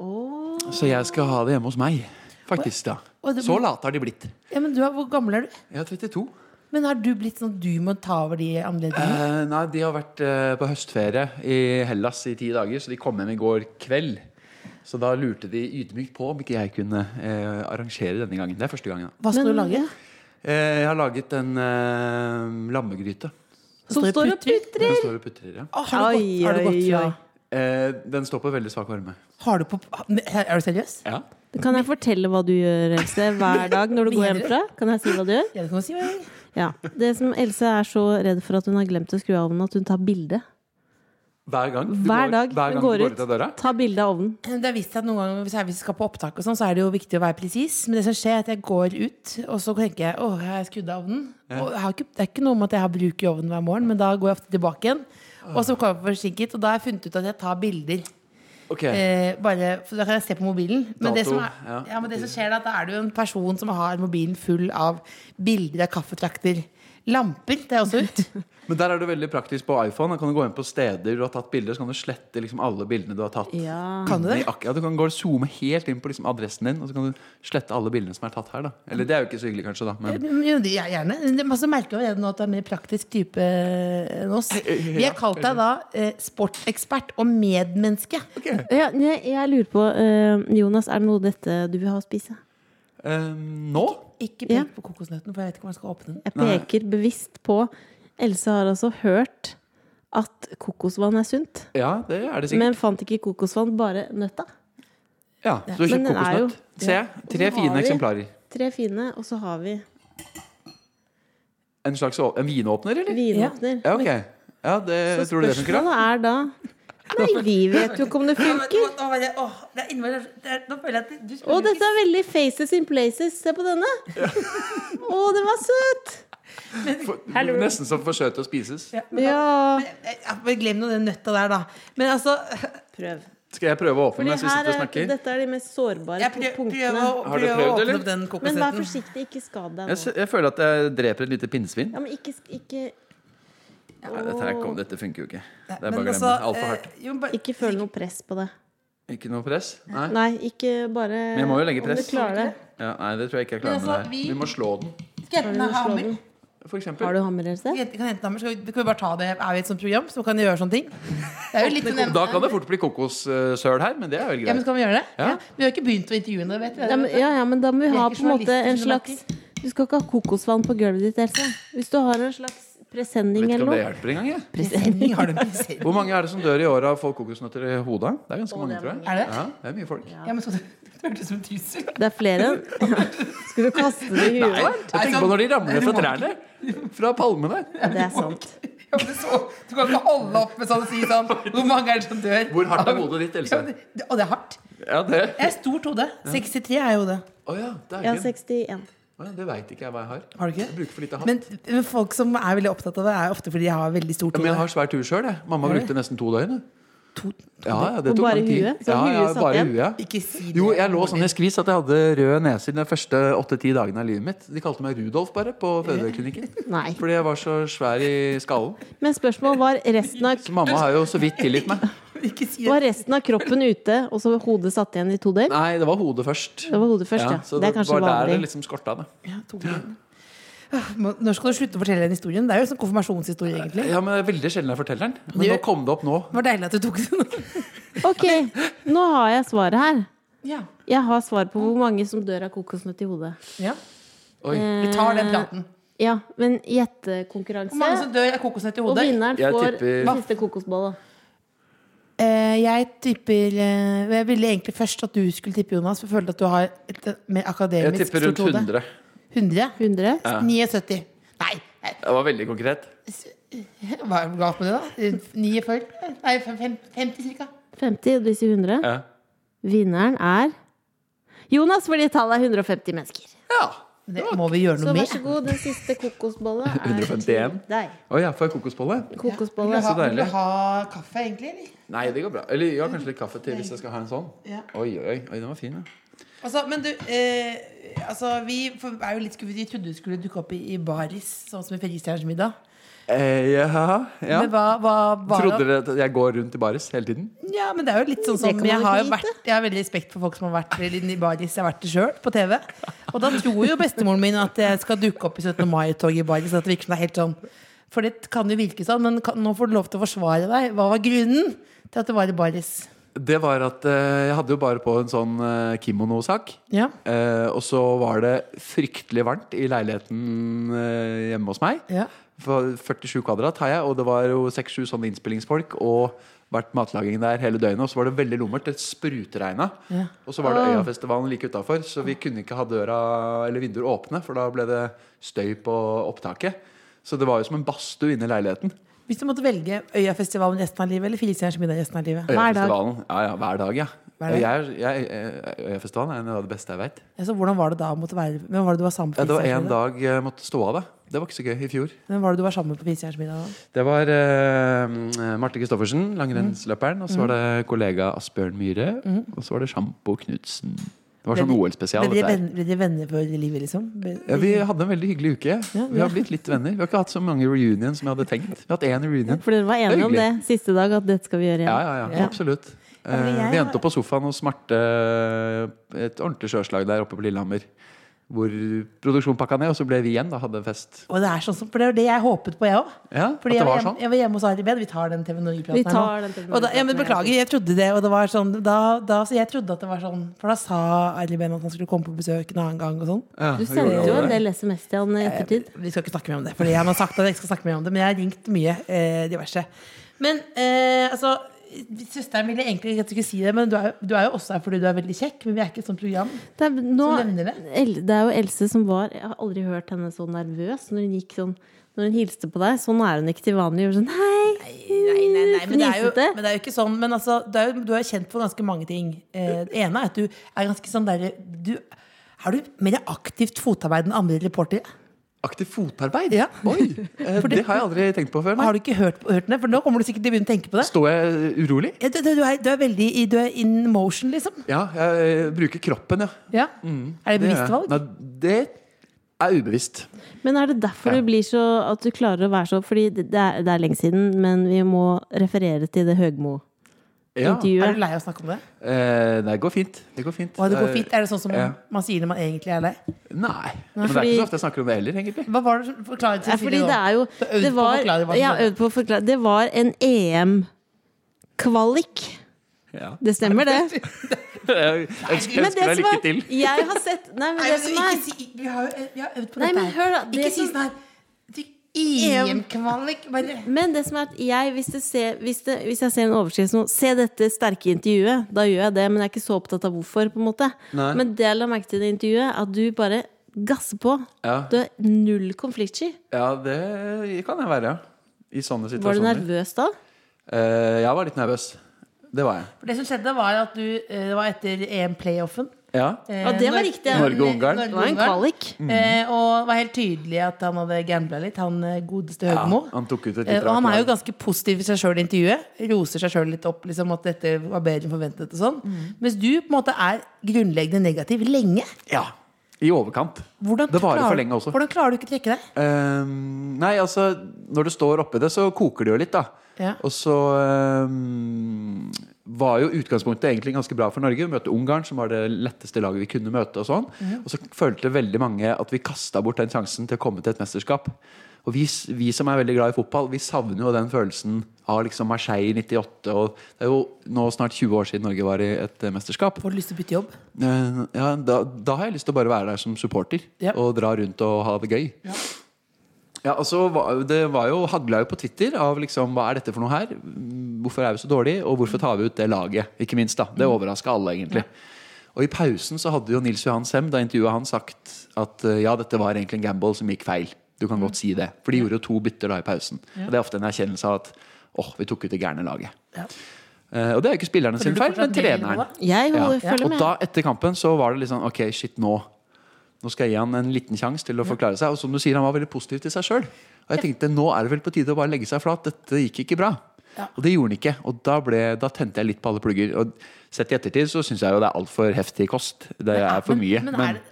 G: Så jeg skal ha det hjemme hos meg. Faktisk, ja.
B: Å, det
G: Så
B: blir-
G: late har de blitt.
B: Ja, men du, er- hvor gammel er du?
G: Jeg er 32.
B: Men har du blitt sånn at du må ta over de anledningene?
G: Eh, nei, de har vært eh, på høstferie i Hellas i ti dager, så de kom hjem i går kveld. Så da lurte de ydmykt på om ikke jeg kunne eh, arrangere denne gangen. Det er første gangen. da.
B: Hva skal du lage?
G: Eh, jeg har laget en eh, lammegryte.
C: Som står og putrer.
G: Den står og putrer. Ja.
B: Å, har du
C: Oi,
B: gått, har du
C: oi,
B: gått
C: oi.
B: fra?
G: Eh, den står på veldig svak varme.
B: Har du på, er du seriøs?
G: Ja.
C: Kan jeg fortelle hva du gjør, Else, hver dag når du går
B: Mener du?
C: hjemmefra? Kan jeg si hva du gjør?
B: Ja, det kan du si. hva jeg-
C: Ja. Det som Else er så redd for at hun har glemt å skru av ovnen, at hun tar bilde.
G: Hver gang du
C: Hver
G: går,
C: dag
G: hver
C: hun
G: gang
C: går
G: du
C: ut.
G: går ut av døra.
C: Ta bilde av ovnen.
B: Det har vist seg at noen ganger hvis jeg- hvis vi skal på opptak, og sånn, så er det jo viktig å være presis. Men det som skjer, er at jeg går ut, og så tenker jeg åh, jeg har skrudd av ovnen. Og jeg har ikke, det er ikke noe om at jeg har bruk i ovnen hver morgen, men da går jeg ofte tilbake igjen. Og så kommer jeg forsinket, og da har jeg funnet ut at jeg tar bilder.
G: Ok,
B: Eh, bare, for da kan jeg se på mobilen. Men, det
G: Dato,
B: som, er,
G: ja.
B: ja, men det som skjer, da, at da er det jo en person som har mobilen full av bilder av kaffetrakter. Lamper det er også ut.
G: Men der er du veldig praktisk på iPhone. Da kan du gå inn på steder du har tatt bilder, så kan du slette liksom alle bildene du har tatt.
C: Ja.
B: Kan du
G: Nei,
B: det?
G: ak- Ja, du kan gå og zoome helt inn på liksom adressen din, og så kan du slette alle bildene som er tatt her. da Eller det er jo ikke så hyggelig, kanskje, da. Men
B: Jo, det- ja, gjerne. Men så merker jeg allerede nå at du er mer praktisk type enn oss. Vi har kalt deg da eh, sportsekspert og medmenneske.
C: Ja, jeg, jeg lurer på, eh, Jonas, er det noe dette du vil ha å spise?
G: eh, nå
B: Ikke
C: Ja.
B: pek på kokosnøtten, for jeg vet ikke om jeg skal åpne den.
C: Jeg peker bevisst på Else har altså hørt at kokosvann er sunt,
G: Ja, det er det sikkert.
C: men fant ikke kokosvann, bare nøtta.
G: ja, så du har
C: Men
G: kjøpt
C: den er jo-
G: kokosnøtt. Se, tre
C: Og så har
G: fine
C: vi-
G: eksemplarer.
C: Tre fine, og så har vi
G: En slags å- en vinåpner, eller?
C: vinåpner.
G: Ja, ok. Ja, det,
C: Så
G: tror du det funker, da?
C: spørsmålet er da Nei, vi vet jo ikke om det
B: Nå, men,
C: funker.
B: nå, nå, var jeg- åh, det er innmari det er- Nå føler jeg at du
C: Å,
B: spiller
C: dette er veldig Faces in Places. Se på denne. Å, den var søt!
G: For, nesten som for søt til å spises.
C: Ja.
B: Ja, men Glem nå den nøtta der, da. Men altså
C: Prøv.
G: Skal jeg prøve å åpne
C: Fordi
G: mens vi
C: her
G: sitter og
C: er,
G: snakker?
C: dette er de mest sårbare
B: jeg prøv, prøver
C: punktene.
B: å,
G: Har du
B: prøver å
G: prøvd,
B: åpne
G: eller?
B: opp den
C: Men vær
B: kokosnøtten.
C: forsiktig, ikke skad deg
G: Jeg,
C: nå.
G: s- jeg føler at jeg dreper et lite pinnsvin.
C: Ja, men ikke, ikke,
G: Nei, dette, her kom, dette funker jo ikke. Det er bare
B: Men
G: å glemme.
B: altså,
G: Altfor
B: eh,
G: hardt.
B: jo, men bare-
C: ikke føl noe press på det.
G: Ikke noe press? Nei.
C: Nei, ikke bare
G: Men jeg må jo legge press.
C: Om du klarer det.
G: Ja, nei, det tror jeg ikke jeg klarer
B: Men
G: med det
B: altså,
G: her.
B: vi-
G: Vi må slå den,
B: Skal jeg hente
C: Kan
B: en
C: du slå
B: hammer?
C: den?
G: for eksempel.
C: Har du hammer eller
B: Kan jeg hente en hammer? Skal vi, kan vi bare ta det? Er vi et sånt program som kan gjøre sånne ting? Det er jo litt sånn
G: Da kan det fort bli kokossøl her, men det er vel
B: Ja, men
G: greit.
B: Skal vi gjøre det?
G: Ja.
B: Vi har ikke begynt å intervjue noe, vet du.
C: Ja men, ja, ja, men da må
B: Vi
C: vi
B: er
C: ha
B: ikke
C: på en måte
B: journalister,
C: en
B: som
C: slags Du skal ikke ha kokosvann på gulvet ditt, Else. Hvis du har en slags presenning
G: Vet ikke
C: eller
G: om det
C: noe.
G: hjelper engang. jeg.
B: Sending har de ikke sett.
G: Hvor mange er det som dør i året av å få kokosnøtter i hodet? Det er ganske
C: Å,
G: mange,
C: det er
G: tror jeg.
B: Er det?
G: Ja, det er mye folk.
B: Ja, men så Det hørtes ut som en trussel.
C: Det er flere. Skal du kaste det i huet
G: Nei,
C: vårt?
G: jeg
B: sånn-
G: tenker på når de ramler fra trærne. Fra palmene.
C: Ja, Det er sant.
B: Ja, men så, du kan ikke holde opp med sånn og si sånn Hvor mange er det som dør?
G: Hvor hardt er hodet ditt,
B: Ja,
G: Else?
B: men det- Å, det er hardt.
G: Ja, det
B: Jeg har stort hode. 63 er hodet.
G: Å ja,
C: Jeg har
G: dæken.
C: 61.
G: Å ja, Det veit ikke jeg hva jeg har.
B: Har du ikke?
G: Jeg bruker for lite hatt.
B: Men, men folk som er veldig opptatt av det, er ofte fordi de har veldig stort
G: Ja, men jeg
B: hode.
G: har svært hue sjøl, jeg. Mamma brukte nesten to døgn. jeg.
B: To-
G: Ja, ja, det
C: Og
G: tok
C: bare
G: lang tid.
C: huet? Så
G: Ja,
C: huet
G: ja,
C: satt
G: bare
C: igjen?
G: huet.
B: Ikke si det.
G: Jo, jeg lå sånn i skvis at jeg hadde rød nese de første åtte-ti dagene av livet mitt. De kalte meg Rudolf bare på fødeklinikken.
C: Nei.
G: Fordi jeg var så svær i skallen.
C: Men spørsmålet var resten av
G: Så mamma har jo så vidt tilgitt meg.
B: Ikke si
C: Var
B: det.
C: resten av kroppen ute, og så hodet satt igjen i to døgn?
G: Nei, det var hodet først.
C: Det var hodet først, ja.
G: Ja, så
C: det er
G: det
C: kanskje
G: var der
C: vanlig.
G: det liksom skorta. Det.
B: Ja, to hode. Ah, må- Når skal du slutte å fortelle den historien? Det er jo en sånn konfirmasjonshistorie, egentlig.
G: Ja, men det er veldig sjelden jeg forteller den. Men
B: Det-
G: nå kom det opp nå.
B: Det var deilig at du tok den.
G: liksom-
C: Ok, nå har jeg svaret her.
B: Ja.
C: Jeg har svar på hvor mange som dør av kokosnøtt i hodet.
B: ja.
G: Oi.
C: Eh,
B: Vi tar den praten.
C: Ja, men
B: Hvor mange
C: gjettekonkurranse.
B: som dør av kokosnøtt i
C: Og
B: hodet?
C: vinneren
G: Jeg
C: får
G: tipper-
C: den siste kokosbolla.
B: Eh, jeg tipper eh, Jeg ville egentlig først at du skulle tippe, Jonas, for jeg føler at du har et eh, mer
G: Jeg
B: akademisk
G: tipper rundt 100.
B: 100?
C: 100?
B: 79. Nei, nei,
G: Det var veldig konkret.
B: hva er det galt med det, da? Rundt 49? Nei, fem- fem- 50 cirka.
C: 50, og de sier 100.
G: Ja.
C: Vinneren er Jonas, fordi tallet er 150 mennesker.
G: ja.
B: Det må vi gjøre
C: Så
B: noe
C: vær
B: med.
C: så god, den siste kokosbolla er
G: 151.
C: til deg.
G: Å ja, får jeg kokosbolle?
C: Kokosbolle.
G: så
B: Vil du
G: deilig.
B: ha kaffe, egentlig? Eller?
G: Nei, det går bra. Eller ja, kanskje litt kaffe til hvis jeg skal ha en sånn.
B: Ja.
G: Oi, oi, oi, den var fin, ja.
B: Altså, men du eh, Altså, vi for, er jo litt skuffet. Vi trodde du skulle dukke opp i, i baris, sånn som i Felgestjernens middag.
G: Eh, ja, ja.
B: Men hva, hva var
G: Trodde dere at jeg går rundt i baris hele tiden?
B: Ja, men det er jo litt sånn som
C: kan man
B: jeg
C: ikke
B: har, jo
C: vite.
B: vært, jeg har veldig respekt for folk som har vært i baris. Jeg har vært det sjøl, på TV. Og da tror jo bestemoren min at jeg skal dukke opp i 17. mai-toget i baris. At det virker som det er helt sånn For det kan jo virke sånn, men kan, nå får du lov til å forsvare deg. Hva var grunnen til at det var i baris?
G: Det var at eh, jeg hadde jo bare på en sånn eh, kimono-sak.
B: Ja.
G: Eh, og så var det fryktelig varmt i leiligheten eh, hjemme hos meg.
B: Ja.
G: For 47 kvadrat har jeg, og det var jo 6-7 sånne innspillingsfolk. Og vært matlaging der hele døgnet. Og så var det veldig lummert. Det sprutregna.
B: Ja. Ah.
G: Og så var det Øyafestivalen like utafor, så vi kunne ikke ha døra eller vinduer åpne, for da ble det støy på opptaket. Så det var jo som en badstue inne i leiligheten.
B: Hvis du måtte velge Øyafestivalen resten av livet eller Filistjerners middag resten av livet?
C: Hver dag.
G: Øyafestivalen. Ja, ja, hver dag, ja.
B: Hver dag.
G: Jeg, er- jeg, eh, Øyafestivalen er noe av det beste jeg veit.
B: Ja, så hvordan var det da å måtte være Hvem var det du var sammen med?
G: Ja,
B: på
G: det var
B: Filistjerners
G: en
B: middag?
G: dag jeg måtte stå av, da. Det var ikke så gøy i fjor.
B: Hvem var det du var sammen med på Filistjerners middag? da?
G: Det var eh, Marte Christoffersen, langrennsløperen. Og så
B: Mm.
G: var det kollega Asbjørn Myhre. Og så var det Sjampo Knutsen. Det var sånn
B: Ble-
G: OL-spesial.
B: Ble dere
G: dette her.
B: venner, ble dere venner for livet, liksom? Ble-
G: Ja, vi hadde en veldig hyggelig uke. vi
B: ja.
G: har blitt litt venner. Vi har ikke hatt så mange reunion som jeg hadde tenkt. Vi har hatt én reunion.
C: For dere var
G: Det
C: enige
G: er
C: om det
G: hyggelig.
C: siste dag, at dette skal vi gjøre
G: Ja,
C: igjen.
G: ja, ja,
B: Ja.
G: absolutt.
B: men
G: Eh,
B: jeg
G: vi
B: har-
G: endte opp på sofaen hos Marte eh, et ordentlig sjøslag der oppe på Lillehammer. Hvor produksjonen pakka ned, og så ble vi igjen da, hadde en fest.
B: Og det er sånn som, for det er jo det jeg håpet på, jeg òg.
G: Ja, at
B: Fordi jeg
G: det
B: var,
G: var
B: hjemme,
G: sånn.
B: jeg var hjemme hos Ari Behn. Vi tar den TV
C: Vi
B: Norge-praten
C: tar
B: her
C: den TV
B: nå. Og da, ja, men beklager, jeg trodde det. Og det var sånn, da, da, så jeg trodde at det var sånn For da sa Ari Behn at han skulle komme på besøk en annen gang. og sånn
G: Ja,
C: Du
G: vi gjorde
C: sendte jo
G: det.
C: en del SMS til han i ettertid.
B: Vi skal ikke snakke mer om det, Fordi han har sagt at jeg ikke skal snakke mer om det. Men jeg har ringt mye eh, diverse. Men eh, altså Søsteren ville egentlig ikke at du skulle si det, men du er, jo- du er jo også her fordi du er veldig kjekk. Men vi er ikke et sånt program.
C: Det er, nå,
B: Som nevner det.
C: El, det er jo Else som var Jeg har aldri hørt henne så nervøs når hun gikk sånn Når hun hilste på deg. Sånn er hun ikke til vanlig. Hun gjør sånn hei.
B: Nei, nei, nei, men det er jo,
C: Fnisete.
B: men det er jo ikke sånn. Men altså, det er jo, du er jo kjent for ganske mange ting. Eh, det ene er at du er ganske sånn derre du, Har du mer aktivt fotarbeid enn andre reportere?
G: Aktivt fotarbeid?
B: Ja.
G: Oi! eh,
B: For det-
G: det har jeg aldri tenkt på før.
B: Har
G: Nei.
B: du ikke hørt, på- hørt det? For nå kommer du sikkert til å begynne å tenke på det.
G: Står jeg urolig?
B: Ja, Du, du, du, er, du er veldig i- Du er in motion, liksom.
G: Ja, jeg eh, bruker kroppen, ja.
B: Ja. Er Mm. det
G: Det gjør
B: bevisst
G: jeg.
B: valg?
G: Nei, det er ubevisst.
C: Men er det derfor
G: Ja.
C: du blir så At du klarer å være så Fordi det det er, det er lenge siden, men vi må referere til det Høgmo-intervjuet.
G: Ja.
B: Er du lei av å snakke om det?
G: Eh, det går fint. Det går fint.
B: Og det går fint? Er det sånn som
G: Ja.
B: man sier når man egentlig er lei?
G: Nei. Men det er
C: fordi-
G: ikke så ofte jeg snakker om det heller, egentlig.
B: Hva var det som forklaret
C: Ja, fordi det er jo
B: Du har øvd på
C: det
B: å
C: var,
B: forklare hva som
C: ja,
B: skjedde.
C: øvd på å forklare. Det var en E EM-kvalik.
G: Ja.
C: Det stemmer, det.
G: Jeg ønsker,
C: Men det
G: ønsker deg
C: som er
G: lykke til.
C: Jeg har sett Nei, men
B: Nei, men
C: det som
B: ikke
C: er
B: si, vi, har, jo- eh, vi har øvd på
C: Nei,
B: dette
C: men hør da,
B: Ikke
C: det
B: si
C: som-
B: sånn her du- EM-kvalik bare-
C: men det som er at jeg, hvis, det ser, hvis, det, hvis jeg ser en overskrift som 'Se dette sterke intervjuet', da gjør jeg det, men jeg er ikke så opptatt av hvorfor. på en måte
G: Nei.
C: Men det jeg la merke til i det intervjuet, at du bare gasser på.
G: Ja.
C: Du er null konfliktsky.
G: ja, det kan jeg være. I sånne
C: Var du
G: situasjoner.
C: nervøs da?
G: Eh, jeg var litt nervøs. Det var jeg.
B: For Det som skjedde, var at du eh, Det var etter EM-playoffen.
G: Ja.
B: Eh,
C: Ja, det var
B: Nor-
C: riktig.
G: Norge-Ungarn.
C: Det var en kvalik.
G: Mm.
B: Eh, og det var helt tydelig at han hadde gambla litt, han eh, godeste
G: ja.
B: Høgmo.
G: Han tok ut et
B: Eh,
G: litt
B: Og han er jo
G: rart lag.
B: ganske positiv i seg sjøl i intervjuet. Roser seg sjøl litt opp. Liksom, at dette var bedre enn forventet og sånn.
G: Mm.
B: Mens du på en måte er grunnleggende negativ lenge.
G: Ja. I overkant.
B: Hvordan
G: Det varer
B: klarer-
G: for lenge også.
B: Hvordan klarer du ikke å trekke deg?
G: Ehm, nei, altså Når du står oppi det, så koker det jo litt, da.
B: Ja.
G: Og så ehm, var jo utgangspunktet egentlig ganske bra for Norge. Vi møtte Ungarn, som var det letteste laget vi kunne møte. Og sånn Og så følte veldig mange at vi kasta bort den sjansen til å komme til et mesterskap. Og vi, s- vi som er veldig glad i fotball, vi savner jo den følelsen av liksom Marseille i 98. Og det er jo nå snart 20 år siden Norge var i et eh, mesterskap.
B: Får du lyst til å bytte jobb?
G: Eh, ja, da, da har jeg lyst til å bare være der som supporter
B: Ja.
G: og dra rundt og ha det gøy. Ja. og så var, det var jo hagla jo på Twitter av liksom Hva er dette for noe her? Mm, Hvorfor er vi så dårlige? Og hvorfor tar vi ut det laget? Ikke minst, da.
B: Mm.
G: Det overraska alle, egentlig. Og i pausen så hadde jo Nils Johan Sem, da intervjuet han, sagt at eh, ja, dette var egentlig en gamble som gikk feil. Du kan
B: Mm.
G: godt si det. For de gjorde jo to bytter da i pausen. Og det er ofte en erkjennelse av at åh, vi tok ut det gærne laget. Eh, og det er jo ikke spillerne sin
B: du
G: feil,
B: fortsatt
G: men
B: del i
G: treneren.
B: noe?
C: Jeg
G: Ja.
C: holder, følger
G: Og
C: med.
G: da etter kampen så var det litt sånn Ok, shit, nå Nå skal jeg gi han en liten sjanse til å forklare seg. Og som du sier, han var veldig positiv til seg sjøl. Og jeg tenkte nå er det vel på tide å bare legge seg flat. Dette gikk ikke bra. Og det gjorde han ikke. Og da, ble, da tente jeg litt på alle plugger. Og sett i ettertid så syns jeg jo det er altfor heftig kost. Det er for
B: men-
G: mye.
B: men
G: Men,
B: er det-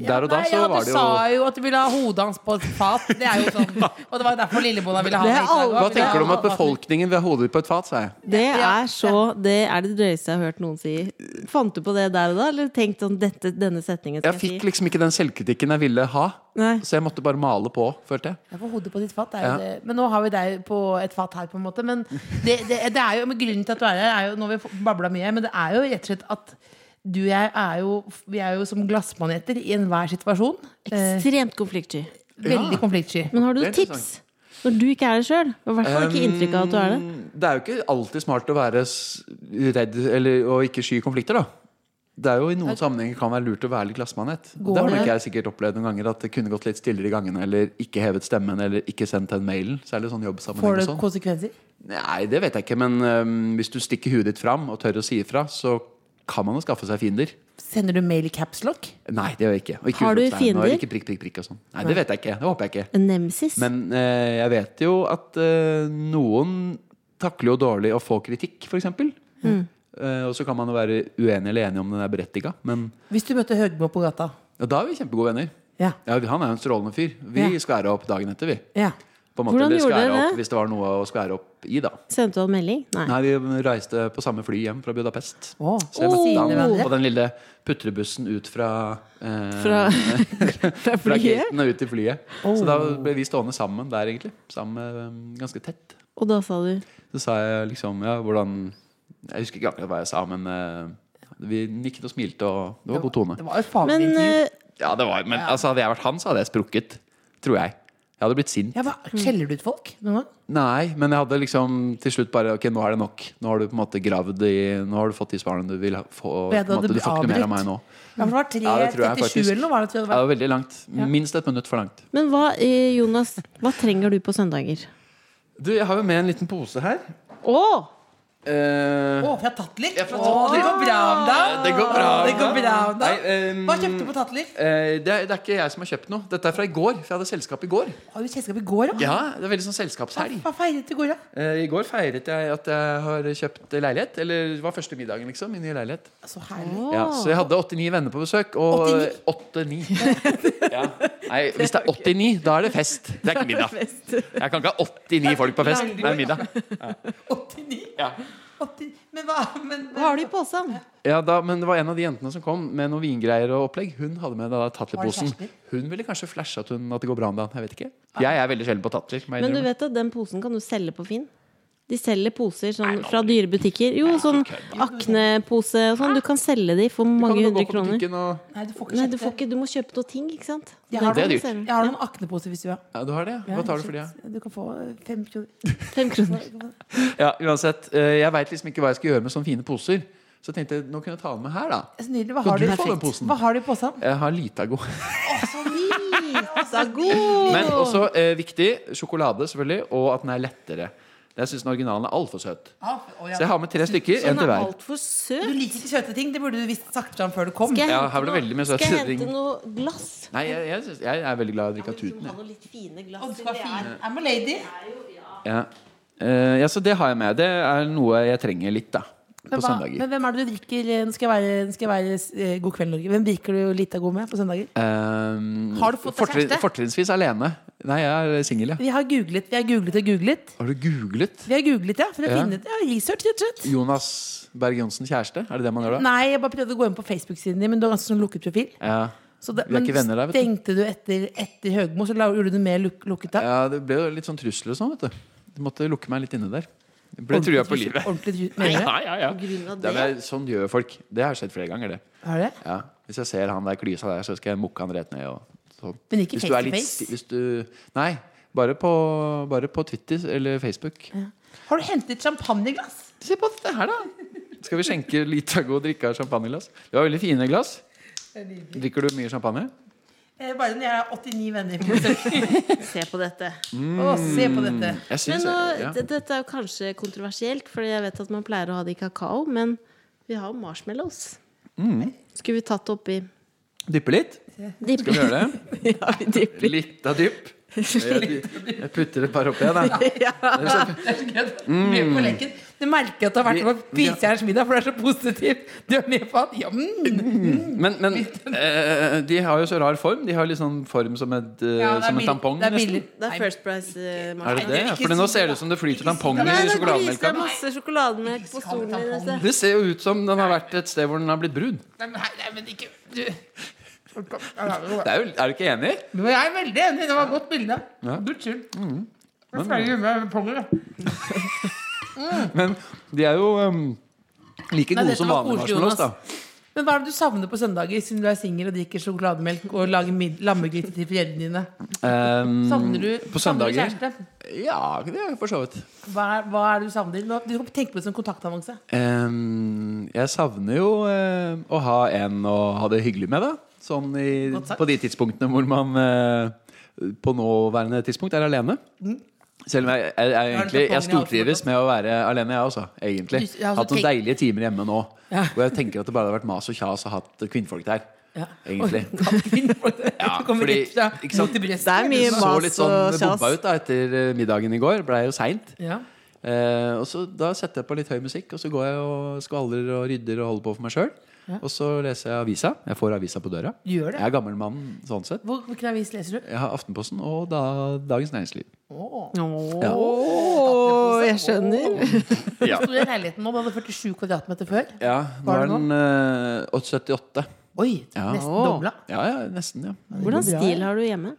G: der og da
B: Nei,
G: så
B: ja,
G: var
B: Du
G: det jo
B: sa jo at du ville ha hodet hans på et fat. Det er jo sånn Og det var jo derfor Lillebonna ville ha
C: Det er
B: det. i dag også.
C: alt-
G: Hva
B: Ville
G: tenker du om
B: ha
G: at befolkningen ved hodet på et fat, sa jeg.
C: Det
B: Ja,
C: er så Det er det drøyeste jeg har hørt noen si. Fant du på det der og da, eller tenkte sånn dette, denne setningen skal jeg
G: Jeg fikk
C: si?
G: liksom ikke den selvkritikken jeg ville ha.
C: Nei.
G: Så jeg måtte bare male på, følte jeg.
B: Ja, for hodet på ditt fat er jo
G: Ja.
B: det. Men nå har vi deg på et fat her, på en måte. Men det, det, det er jo, men grunnen til at du er her, er jo Nå har vi babla mye, men det er jo rett og slett at du og jeg er jo Vi er jo som glassmaneter i enhver situasjon. Eh,
C: Ekstremt konfliktsky.
B: veldig konfliktsky.
C: Men har du
G: Det er
C: tips? Når du ikke er det sjøl? I hvert fall ikke inntrykk av at du er det.
G: Mm, Det er jo ikke alltid smart å være s- redd eller å ikke sky konflikter, da. Det er jo I noen sammenhenger kan være lurt å være litt glassmanet. Det har nok
B: det?
G: jeg sikkert opplevd noen ganger. At det kunne gått litt stillere i gangene, eller ikke hevet stemmen, eller ikke sendt den mailen. Særlig sånn jobbsammenheng.
B: Får
G: og
B: det
G: sånn.
B: konsekvenser?
G: Nei, det vet jeg ikke, men øhm, hvis du stikker huet ditt fram og tør å si ifra, så kan man jo skaffe seg fiender.
B: Sender du mail i caps lock?
G: Nei, det gjør jeg ikke. Og ikke
C: Har du
G: utropstegn,
C: fiender?
G: Og ikke prikk, prikk, prikk og sånn. Nei, det vet jeg ikke. Det håper jeg ikke.
C: En nemesis.
G: Men eh, jeg vet jo at eh, noen takler jo dårlig å få kritikk, f.eks. Mm. Eh, og så kan man jo være uenig eller enig om den er berettiga, men
B: Hvis du møter Høgmo på gata.
G: ja, da er vi kjempegode venner.
B: Ja.
G: Ja, vi- han er jo en strålende fyr. Vi
B: Ja.
G: skværa opp dagen etter, vi.
B: ja.
G: På en måte,
C: Hvordan
G: eller
C: gjorde
G: skværa
C: dere det?
G: opp Hvis det var noe å skvære opp i, da.
C: Sendte du en melding? Nei.
G: Nei, vi reiste på samme fly hjem fra Budapest.
B: Å,
G: Så
B: sier
G: jeg møtte
B: det
G: han
B: hverandre.
G: på den lille putrebussen ut fra eh,
C: Fra, fra
G: fra
C: flyet?
G: gaten og ut til flyet. Så da ble vi stående sammen der, egentlig. Sammen, eh, ganske tett.
C: Og da sa du
G: Så sa jeg liksom ja, hvordan Jeg husker ikke akkurat hva jeg sa, men eh, vi nikket og smilte, og det var god tone.
B: Det var jo et faglig
C: Men
B: intervju.
C: eh,
G: Ja, det var, men altså, hadde jeg vært han, så hadde jeg sprukket. Tror jeg. Jeg hadde blitt sint.
B: Ja, hva, Skjeller du ut folk noen gang?
G: Nei, men jeg hadde liksom til slutt bare Ok, nå er det nok. Nå har du på en måte gravd i Nå har du fått de svarene du vil ha. Få, på
B: Ja,
G: en
B: da hadde
G: måte,
B: du
G: du får ikke noe mer av
B: avbrutt.
G: meg nå.
B: Ja, for det
G: Ja,
B: var
G: det tror jeg
B: 3.37
G: faktisk.
B: eller noe? var det at vi hadde
G: Det
B: vært-
G: var veldig langt. Minst et minutt for langt.
C: Men hva, eh, Jonas, hva trenger du på søndager?
G: Du, jeg har jo med en liten pose her.
C: Å!
G: Eh,
B: Å, fra Tatler?
G: Jeg er fra
B: Å,
G: Tatler.
B: Det går bra om deg.
G: det går bra.
B: Det går bra om
G: Nei,
B: deg.
G: ehm,
B: Hva kjøpte du på Tatler?
G: eh, det, er, det er ikke jeg som har kjøpt noe. Dette er fra i går, for jeg hadde selskap i går.
B: Har du selskap i går, da?
G: Ja, det er veldig sånn selskapshelg.
B: Hva feiret du i går, da?
G: Eh, I går feiret jeg at jeg har kjøpt leilighet. Eller det var første middagen, liksom. Min nye leilighet. Ah.
B: Så herlig.
G: Ja, så jeg hadde 89 venner på besøk. Og 89. Ja. Nei, hvis det er 89, da er det fest. Det er ikke middag. Jeg kan ikke ha 89 folk på fest. Det er middag.
B: 89?
G: Ja.
B: 80. Men hva men, men,
C: Hva har du i posen?
G: Ja, da, men det var en av de jentene som kom med noen vingreier og opplegg. Hun hadde med da Tatler-posen.
B: Var det kjæresten
G: Hun ville kanskje flashe at, hun, at det går bra om dagen. Jeg vet ikke. Jeg er veldig sjelden på Tatler. må jeg
C: Men du
G: innrømme.
C: vet at den posen kan du selge på Finn? De selger poser sånn, fra dyre butikker. Jo, sånn Akne-pose og sånn. Du kan selge de for
G: Kan
C: mange
G: du
C: hundre
G: gå på
C: kroner.
G: butikken og
B: Nei, du får ikke
C: Nei, du,
B: kjøpt
C: får
B: det.
C: ikke, du må kjøpe noe ting, ikke sant?
B: Jeg har,
G: Det er
B: noen,
G: dyrt.
C: selge.
B: jeg har noen akneposer hvis du vil ha.
G: ja, Du har det? ja. Hva tar du for de? Ja?
B: Du kan få fem
C: Fem kroner.
B: kroner.
G: Ja, uansett, eh, jeg veit liksom ikke hva jeg skal gjøre med sånne fine poser. Så jeg tenkte nå kunne jeg ta den med her, da.
B: Så nydelig. Hva
G: Kan
B: har du,
G: du få den posen?
B: Hva har du i posen?
G: Jeg har Litago.
C: Så god!
G: Men også eh, viktig sjokolade, selvfølgelig, og at den er lettere. Jeg syns den originalen er altfor søt.
C: Ah,
G: Så jeg har med tre stykker.
B: Sånn
G: En
C: Den
G: til
C: er
G: hver.
C: altfor
B: Du
C: søt.
B: liker ikke søte ting. Det burde du visst sagt fram før du kom.
C: Skal jeg
G: Ja,
C: hente
G: her var det
C: noe-
G: veldig mye søt
C: Skal jeg
G: ting.
C: hente noe glass?
G: Nei, jeg, jeg, synes, jeg er veldig glad i å drikke av
C: Du må
G: tuten.
C: ha
G: Jeg.
C: noe litt fine
B: Å,
C: glass.
B: du skal være fin. I'm a lady.
G: Ja. Eh, ja, så det har jeg med. Det er noe jeg trenger litt, da. På
B: Men, hva,
G: søndager.
B: men hvem er det du drikker eh, Nå skal jeg være, nå skal jeg være eh, God kveld, Norge. Hvem drikker du Litago med på søndager?
G: Eh,
B: Har du fått deg
G: fortrin-
B: kjæreste?
G: Fortrinnsvis alene. Nei, jeg er singel, jeg.
B: Vi har googlet, vi har googlet og googlet.
G: Har du googlet
B: Vi har googlet, ja. For å
G: Ja.
B: finne ut ja, research, rett og slett.
G: Jonas Berg Johnsen kjæreste? Er det det man gjør da?
B: Nei, jeg bare prøvde å gå inn på Facebook-siden din, men du har ganske sånn lukket profil.
G: Ja.
B: Så det,
G: Vi er ikke venner der, vet du.
B: stengte du etter, etter Høgmo, så la, gjorde du det mer luk, lukket da?
G: ja, det ble jo litt sånn trusler og sånn, vet du. Du måtte lukke meg litt inne der. Jeg ble trua på livet.
B: Ordentlig tru- mener du?
G: Ja, ja, ja.
C: grunn av
G: Det er, sånn gjør folk. Det har skjedd flere ganger, det.
B: Har du det?
G: Ja. Hvis jeg ser han der klysa der, så skal jeg mukke han rett ned. Og sånn.
B: Men ikke
G: Hvis
B: face
G: du er
B: to
G: litt
B: face?
G: sti- Hvis du, nei, bare på, bare på Twitter eller Facebook.
B: Har du hentet champagneglass?
G: Se på dette her, da! Skal vi skjenke Litago og drikke av champagneglass? Det var veldig fine glass. Drikker du mye champagne?
B: Eh, Bare når jeg har 89 venner. på besøk.
C: Se på dette.
G: Mm.
B: Å, se på dette.
G: Jeg
C: Men
G: syns
C: nå,
G: ja.
C: d- Dette er jo kanskje kontroversielt, for jeg vet at man pleier å ha det i kakao, men vi har jo marshmallows.
G: Mm.
C: Skulle vi tatt det oppi
G: Dyppe litt. Skal vi gjøre det?
C: Ja, vi dypper.
G: Litt av dypp. Jeg, jeg putter et par oppi, jeg, da.
B: Det er så gøy at du er Med på leken. Du merker at du har vært med på
G: Mm. Vi- vi-
B: Biskjærens middag, for du er så positiv. Du er med på at ja, mm.
G: Men, men eh, de har jo så rar form. De har litt sånn form som, et, eh,
B: Ja, det er
G: som en
B: billig.
G: tampong.
B: Det er
G: nesten.
B: billig.
C: Det er First Price-marshmallows.
G: Er det det?
B: det er ikke
G: For nå
B: så-
G: ser det ut som det flyter tamponger
C: Nei, det
G: i
C: griser, det er
G: sjokolademelka.
C: masse sjokolademelk på stolen din. Else.
G: Det ser jo ut som den har vært et sted hvor den har blitt brun.
B: Nei, men- nei, men ikke du.
G: Det er, jo, er du ikke enig?
B: Men jeg er veldig enig. Det var et godt bilde. Guds skyld. Jeg feirer med ponger, da.
G: Men de er jo um, like
B: Nei,
G: gode
B: dette
G: som
B: var
G: vanlige
B: koselig,
G: marshmallows, da.
B: Jonas. Men hva er det du savner på søndager, siden du er singel og drikker sjokolademelk og lager mid- lammegryte til foreldrene dine?
G: Um,
B: Savner du,
G: på
B: savner du
G: søndager?
B: kjæreste?
G: Ja, det er for så vidt.
B: Hva er, hva er det du savner? Nå, du kan tenke på det som kontaktannonse.
G: Um, jeg savner jo eh, å ha en å ha det hyggelig med, da. Sånn i,
B: Godt sagt.
G: på de tidspunktene hvor man eh, på nåværende tidspunkt er alene.
B: Mm.
G: Selv om jeg, jeg, jeg, egentlig,
B: tampongen i
G: jeg stortrives
B: halsen
G: med å være alene, jeg også. Egentlig.
B: Du- ja, altså,
G: hatt noen
B: tenk-
G: deilige timer hjemme nå.
B: Ja.
G: Hvor jeg tenker at det bare hadde vært mas og kjas og hatt kvinnfolk der. Egentlig.
B: Oi, kan kvinner få det?
G: Ja,
B: Du kommer
G: fordi-
B: rett fra
G: ikke sant?
B: mot i brystet.
C: Det er mye
G: Så litt
C: mas
G: sånn
C: og
G: bomba ut
C: kjas.
G: da etter eh, middagen i går. Blei jo seint.
B: Ja.
G: Eh, og så Da setter jeg på litt høy musikk, og så går jeg og skvaller og rydder og holder på for meg sjøl. Og så leser jeg avisa. Jeg får avisa på døra.
B: Du gjør det?
G: Jeg er gammel mann sånn sett.
B: Hvor, hvilken avis leser du?
G: Jeg har Aftenposten og da, Dagens Næringsliv.
C: Åh, jeg skjønner.
G: Ja.
B: Sto det i leiligheten nå? Du hadde 47 kvadratmeter før.
G: Ja, nå
B: Var
G: er
B: det
G: den eh, 78.
B: Oi,
G: Ja.
B: nesten
C: Åh.
B: dobla.
G: Ja, ja, nesten, ja.
C: Hvordan stil har du hjemme?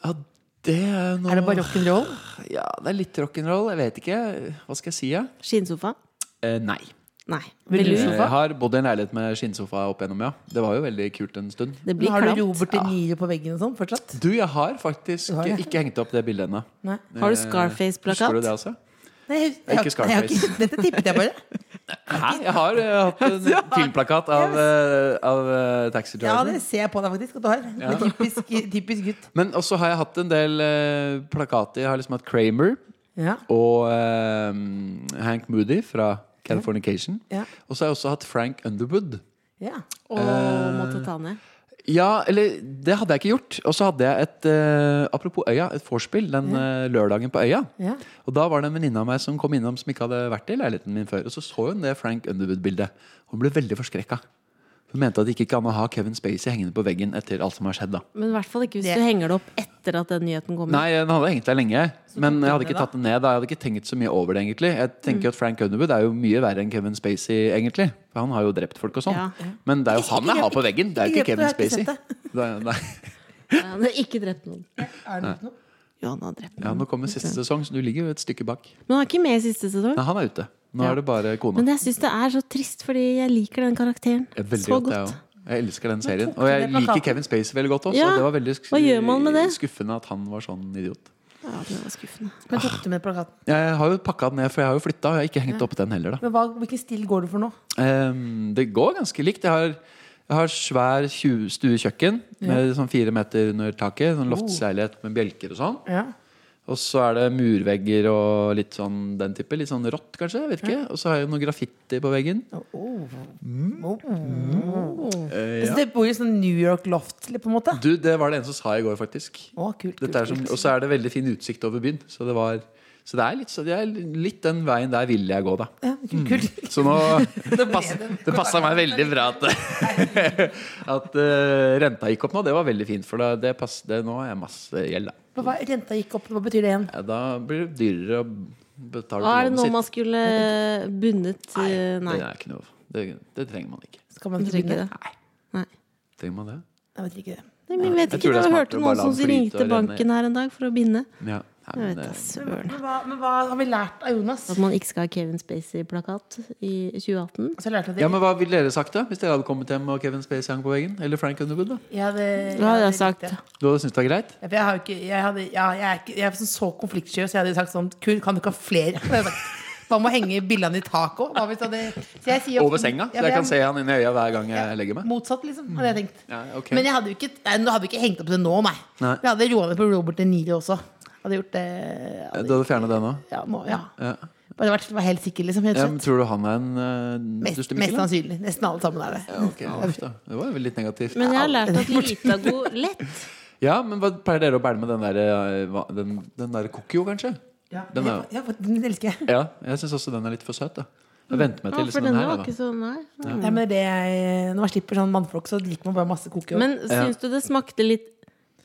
G: ja det er, noe...
B: Er det bare rock'n'roll?
G: Ja, det er litt rock'n'roll. Jeg vet ikke. Hva skal jeg si, ja?
C: Skinnsofa?
G: Eh, nei.
C: Nei.
B: Vil du-
C: Velour.
B: Sofa?
G: Jeg har bodd i en leilighet med skinnsofa opp gjennom, ja. Det var jo veldig kult en stund.
C: Det
B: Men
C: blir
B: Har du
C: klamt.
B: Robert De Niro på veggen og sånn fortsatt?
G: Du, jeg har faktisk
B: Du har det?
G: ikke hengt opp det bildet ennå.
B: Nei.
C: Har du
G: Eh,
C: Scarface-plakat?
G: Husker du det også?
B: Nei, jeg,
G: er ikke
B: jeg, jeg, har ikke- dette tippet jeg bare.
G: Hæ? Jeg har eh, hatt en filmplakat av, eh, av eh, Taxi
B: Ja,
G: Driver.
B: det ser jeg på deg faktisk at du har. Det er typisk, typisk gutt.
G: Men også har jeg hatt en del eh, plakater. Jeg har liksom hatt Kramer
B: Ja.
G: og eh, Hank Moody fra Californication.
B: Ja.
G: Og så har jeg også hatt Frank Underwood.
B: ja.
C: Og måtte ta ned.
G: Ja, eller det hadde jeg ikke gjort. Og så hadde jeg et eh, apropos Øya, et vorspiel den eh, lørdagen på Øya.
B: Ja.
G: Og da var det en venninne av meg som kom innom som ikke hadde vært i leiligheten min før. Og så så hun det Frank Underwood-bildet. Hun ble veldig forskrekka. Hun mente at det ikke gikk an å ha Kevin Spacey hengende på veggen etter alt som har skjedd. da
C: Men i hvert fall ikke hvis
B: Det-
C: du henger det opp etter at den nyheten kommer.
G: Nei, den hadde hengt der lenge,
B: tok du
G: men jeg hadde
B: den
G: ikke
B: ned,
G: tatt den ned. da Jeg hadde ikke tenkt så mye over det, egentlig. Jeg tenker jo at Frank Underwood er jo mye verre enn Kevin Spacey, egentlig. For han har jo drept folk og sånn.
C: Ja.
G: Men det er jo han jeg har på veggen, det er jo
B: Ikke drept,
G: ikke Kevin
B: jeg
G: Spacey.
B: har ikke
G: Det er- Nei.
C: Han har ikke drept noen.
B: Er det noe?
C: Jo, han har drept
G: Ja,
C: noen.
G: nå kommer siste sesong, så du ligger jo et stykke bak.
C: Men han er ikke med i siste sesong.
G: Nei, han er ute. Nå
C: Ja.
G: er det bare kona.
C: Men jeg syns det er så trist, fordi jeg liker den karakteren
G: Jeg er veldig
C: så
G: godt, jeg
C: godt.
G: også. Jeg elsker den serien.
B: tok
G: Og jeg
B: den plakaten?
G: liker Kevin Spacey veldig godt også.
C: Ja,
G: og Det var veldig sk-
C: hva gjør man med det?
G: skuffende at han var sånn idiot.
C: Ja, det var skuffende.
B: Men tok du med plakaten?
G: Jeg har jo pakka den ned, for jeg har jo flytta, og jeg har ikke hengt opp den heller. da
B: Men hva, hvilken stil går du for nå?
G: Ehm, Det går ganske likt. Jeg har, jeg har svær tju- stuekjøkken med sånn fire meter under taket.
C: Oh.
G: Sånn loftsleilighet med bjelker og sånn.
B: Ja.
G: Og så er det murvegger og litt sånn den type. Litt sånn rått, kanskje. jeg vet ikke Og så har jeg noe graffiti på veggen.
C: Oh.
G: Eh,
B: Så
G: ja.
B: det bor i sånn New York loft, eller på en måte?
G: Du, det var det en som sa i går, faktisk.
B: Å, kult, kult,
G: Dette er som,
B: kult.
G: og så er det veldig fin utsikt over byen. Så det, var, så det er litt, så det er litt den veien der ville jeg gå, da.
B: Ja, kult, kult.
G: Så nå pass, Det passa meg veldig bra at, at eh, renta gikk opp nå. Det var veldig fint, for da, det pass, det, nå har jeg masse gjeld. Da.
B: Men Hva, renta gikk opp, hva betyr det igjen?
G: Ja, da blir det dyrere å betale
C: Hva Ah, er det
G: på
C: nå man
G: lånet sitt.
C: skulle bundet eh, Nei.
G: Det, er ikke noe, det, det trenger man ikke.
B: Skal man
C: Jeg tror ikke
B: begynne?
C: det. Nei.
G: Trenger man det?
B: Nei, jeg vet ikke det.
C: Nei, men Jeg vet
G: Jeg
C: ikke,
G: tror det er
C: jeg
G: smartere
C: hørte
G: å bare
C: noen
G: la
C: som
G: den flyte
C: ringte
G: og renne.
C: banken her en dag for å binde.
G: Ja. Nei,
C: Jeg
G: men,
C: vet da
G: det-
C: søren.
B: Men hva, men hva har vi lært av Jonas?
C: At man ikke skal ha Kevin Spacey-plakat i 2018.
B: Så jeg lærte at
G: eh, ja,
B: jeg,
G: men Hva ville dere sagt da hvis dere hadde kommet hjem og Kevin Spacey hang på veggen? Eller Frank Underwood? da
B: jeg hadde,
C: Da hadde jeg
B: likte
C: sagt
B: det.
G: Du hadde syntes det var greit?
B: Ja, for Jeg, har jo ikke, jeg, hadde, ja, jeg, er ikke, jeg er sånn så konfliktsky, så jeg hadde sagt sånn Kun, kan du ikke ha flere? Det hadde jeg sagt. Hva med å henge billene i taket òg? Hva hvis du hadde så jeg sier ofte-
G: Over
B: Ja,
G: senga? Så jeg
B: for
G: kan se han inn i øya hver gang jeg legger meg?
B: Motsatt, liksom, hadde jeg tenkt.
G: Ja, ok.
B: Men jeg hadde jo ikke, nei, nå hadde vi ikke hengt opp det nå, nei.
G: Nei.
B: Men Jeg hadde roa ned på Robert De Niro også. Hadde gjort det hadde,
G: Du hadde fjerna den òg?
B: ja, nå, ja.
G: Ja.
B: Bare vært var helt sikker, liksom. Helt
G: Ja,
B: slett.
G: men tror du han er en uh,
B: mest,
G: dustemikkel?
B: mest
G: da?
B: sannsynlig. Nesten alle sammen er det.
G: Ja, ok, ja, uff da. Det var jo litt negativt.
C: Men jeg har lært at lite er god lett.
G: Ja, men hva pleier dere å bære med den der, eh, hva- den, den der kokio, kanskje?
B: Ja,
G: Den er-
B: ja, for- den elsker jeg.
G: Ja, jeg syns også den er litt for søt, da. Jeg venter meg
C: Ja,
G: til
C: for
G: liksom, den
C: denne
G: her.
C: var
G: Da.
C: ikke så Nei.
B: Nei, men det er det jeg, når man slipper sånn mannfolk, så liker man bare masse koke.
C: Men syns du det smakte litt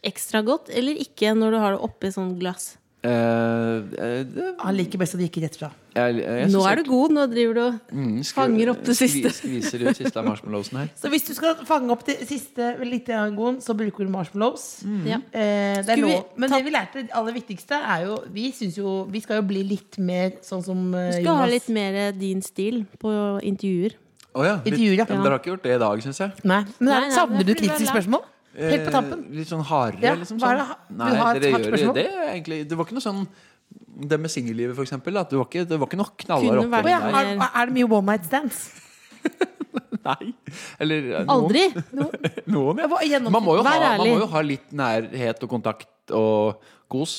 C: ekstra godt eller ikke når du har det oppi sånn glass?
G: Eh, eh, det-
B: Han liker best at det gikk rett fra.
G: jeg- jeg
C: Nå
G: synes
C: er
G: jeg-
C: du god, nå driver du og
G: Mm, skru-
C: fanger opp det
G: skvi-
C: siste.
G: Skviser ut siste av marshmallowsen her.
B: Så hvis du skal fange opp det siste litt i angoen, så bruker du marshmallows.
C: ja.
B: Eh, det er
C: Skulle vi
B: lov. Men det vi lærte, det aller viktigste, er jo Vi syns jo Vi skal jo bli litt mer sånn som eh,
C: Du skal ha
B: Jonas.
C: litt mer din stil på intervjuer.
G: Å ja.
B: Intervjuer,
G: litt-
B: ja.
G: men Dere har ikke gjort det i dag, syns jeg.
B: Nei, men
C: Nei, nei,
B: Savner
C: det
B: du
C: er fordi vi har
B: tips til
C: lært.
B: spørsmål? Helt på tampen.
G: Eh, Litt sånn hardere,
B: Ja,
G: liksom.
B: hva er
G: Sånn.
B: det ha- du
G: Nei,
B: har et
G: dere
B: hardt
G: gjør
B: spørsmål?
G: jo det, egentlig. Det var ikke noe sånn Det med singellivet, for eksempel. At det, var ikke, det var ikke noe knallhard
C: Kunne vært-
B: Å ja,
G: oppfølging der.
B: er, er det mye one night stands?
G: Nei. Eller eh, noen-
C: Aldri!
G: Noen, ja.
B: Jeg var gjennom-
G: Man må, jo ha,
C: Vær
G: man
C: ærlig.
G: må jo ha litt nærhet og kontakt og kos,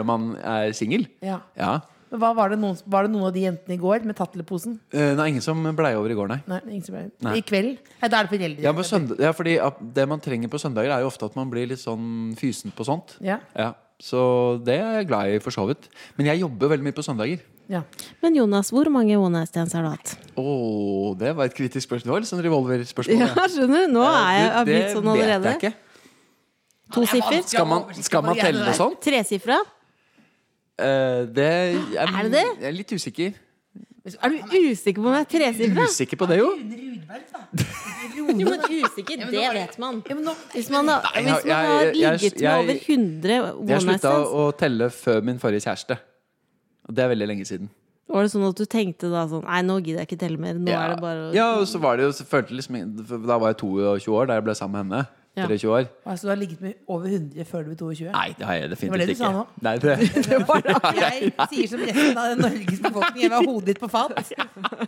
B: Ja.
G: om man er singel.
B: Ja.
G: Ja.
B: Men hva var, det noen, var det noen av de jentene i går med tatleposen?
G: Eh, Nei, ingen som blei over i går, nei.
B: Nei, ingen som ble-
G: Nei.
B: I kveld? Nei, da er det foreldre.
G: Ja, men søndag, ja, fordi at Det man trenger på søndager, er jo ofte at man blir litt sånn fysen på sånt.
B: Ja.
G: Ja. Så det er jeg glad i, for så vidt. Men jeg jobber veldig mye på søndager.
B: Ja.
C: Men Jonas, hvor mange one night stands har du hatt?
G: Å, det var et kritisk spørsmål. Det var litt sånn revolverspørsmål.
C: Ja,
G: ja.
C: skjønner du? Nå er jeg,
G: Du,
C: har
G: det
C: blitt sånn
G: vet jeg
C: allerede.
G: ikke.
C: To siffer?
G: Skal man, skal man telle sånt?
C: Tresifra?
G: Eh, det er,
C: Er det det?
G: Jeg er litt usikker.
C: Er du usikker på om det er tresifra?
G: Usikker på det, jo.
C: Jo, men usikker, det vet man.
B: Ja, men nå,
C: Hvis man har,
G: Nei,
C: hvis
G: jeg-
C: man har
G: jeg- jeg-
C: ligget med
G: jeg-
C: over 100 one
G: Jeg
C: night
G: slutta
C: stands
G: å telle før min forrige kjæreste. Og det er veldig lenge siden.
C: Var det sånn at du tenkte da sånn Nei, nå gidder jeg ikke telle mer. Nå er det bare å
G: ja, og så var det jo så følte jeg liksom, for Da var jeg 22 år da jeg ble sammen med henne.
C: Ja.
G: 23 år.
B: Altså, du har ligget med over 100 før du ble 22?
G: Nei, det har jeg
B: var det
G: definitivt
B: du sa
G: ikke.
B: nå.
G: Nei, det-
B: Det var da jeg sier som resten av Norges befolkning. Jeg var hodet ditt på fat.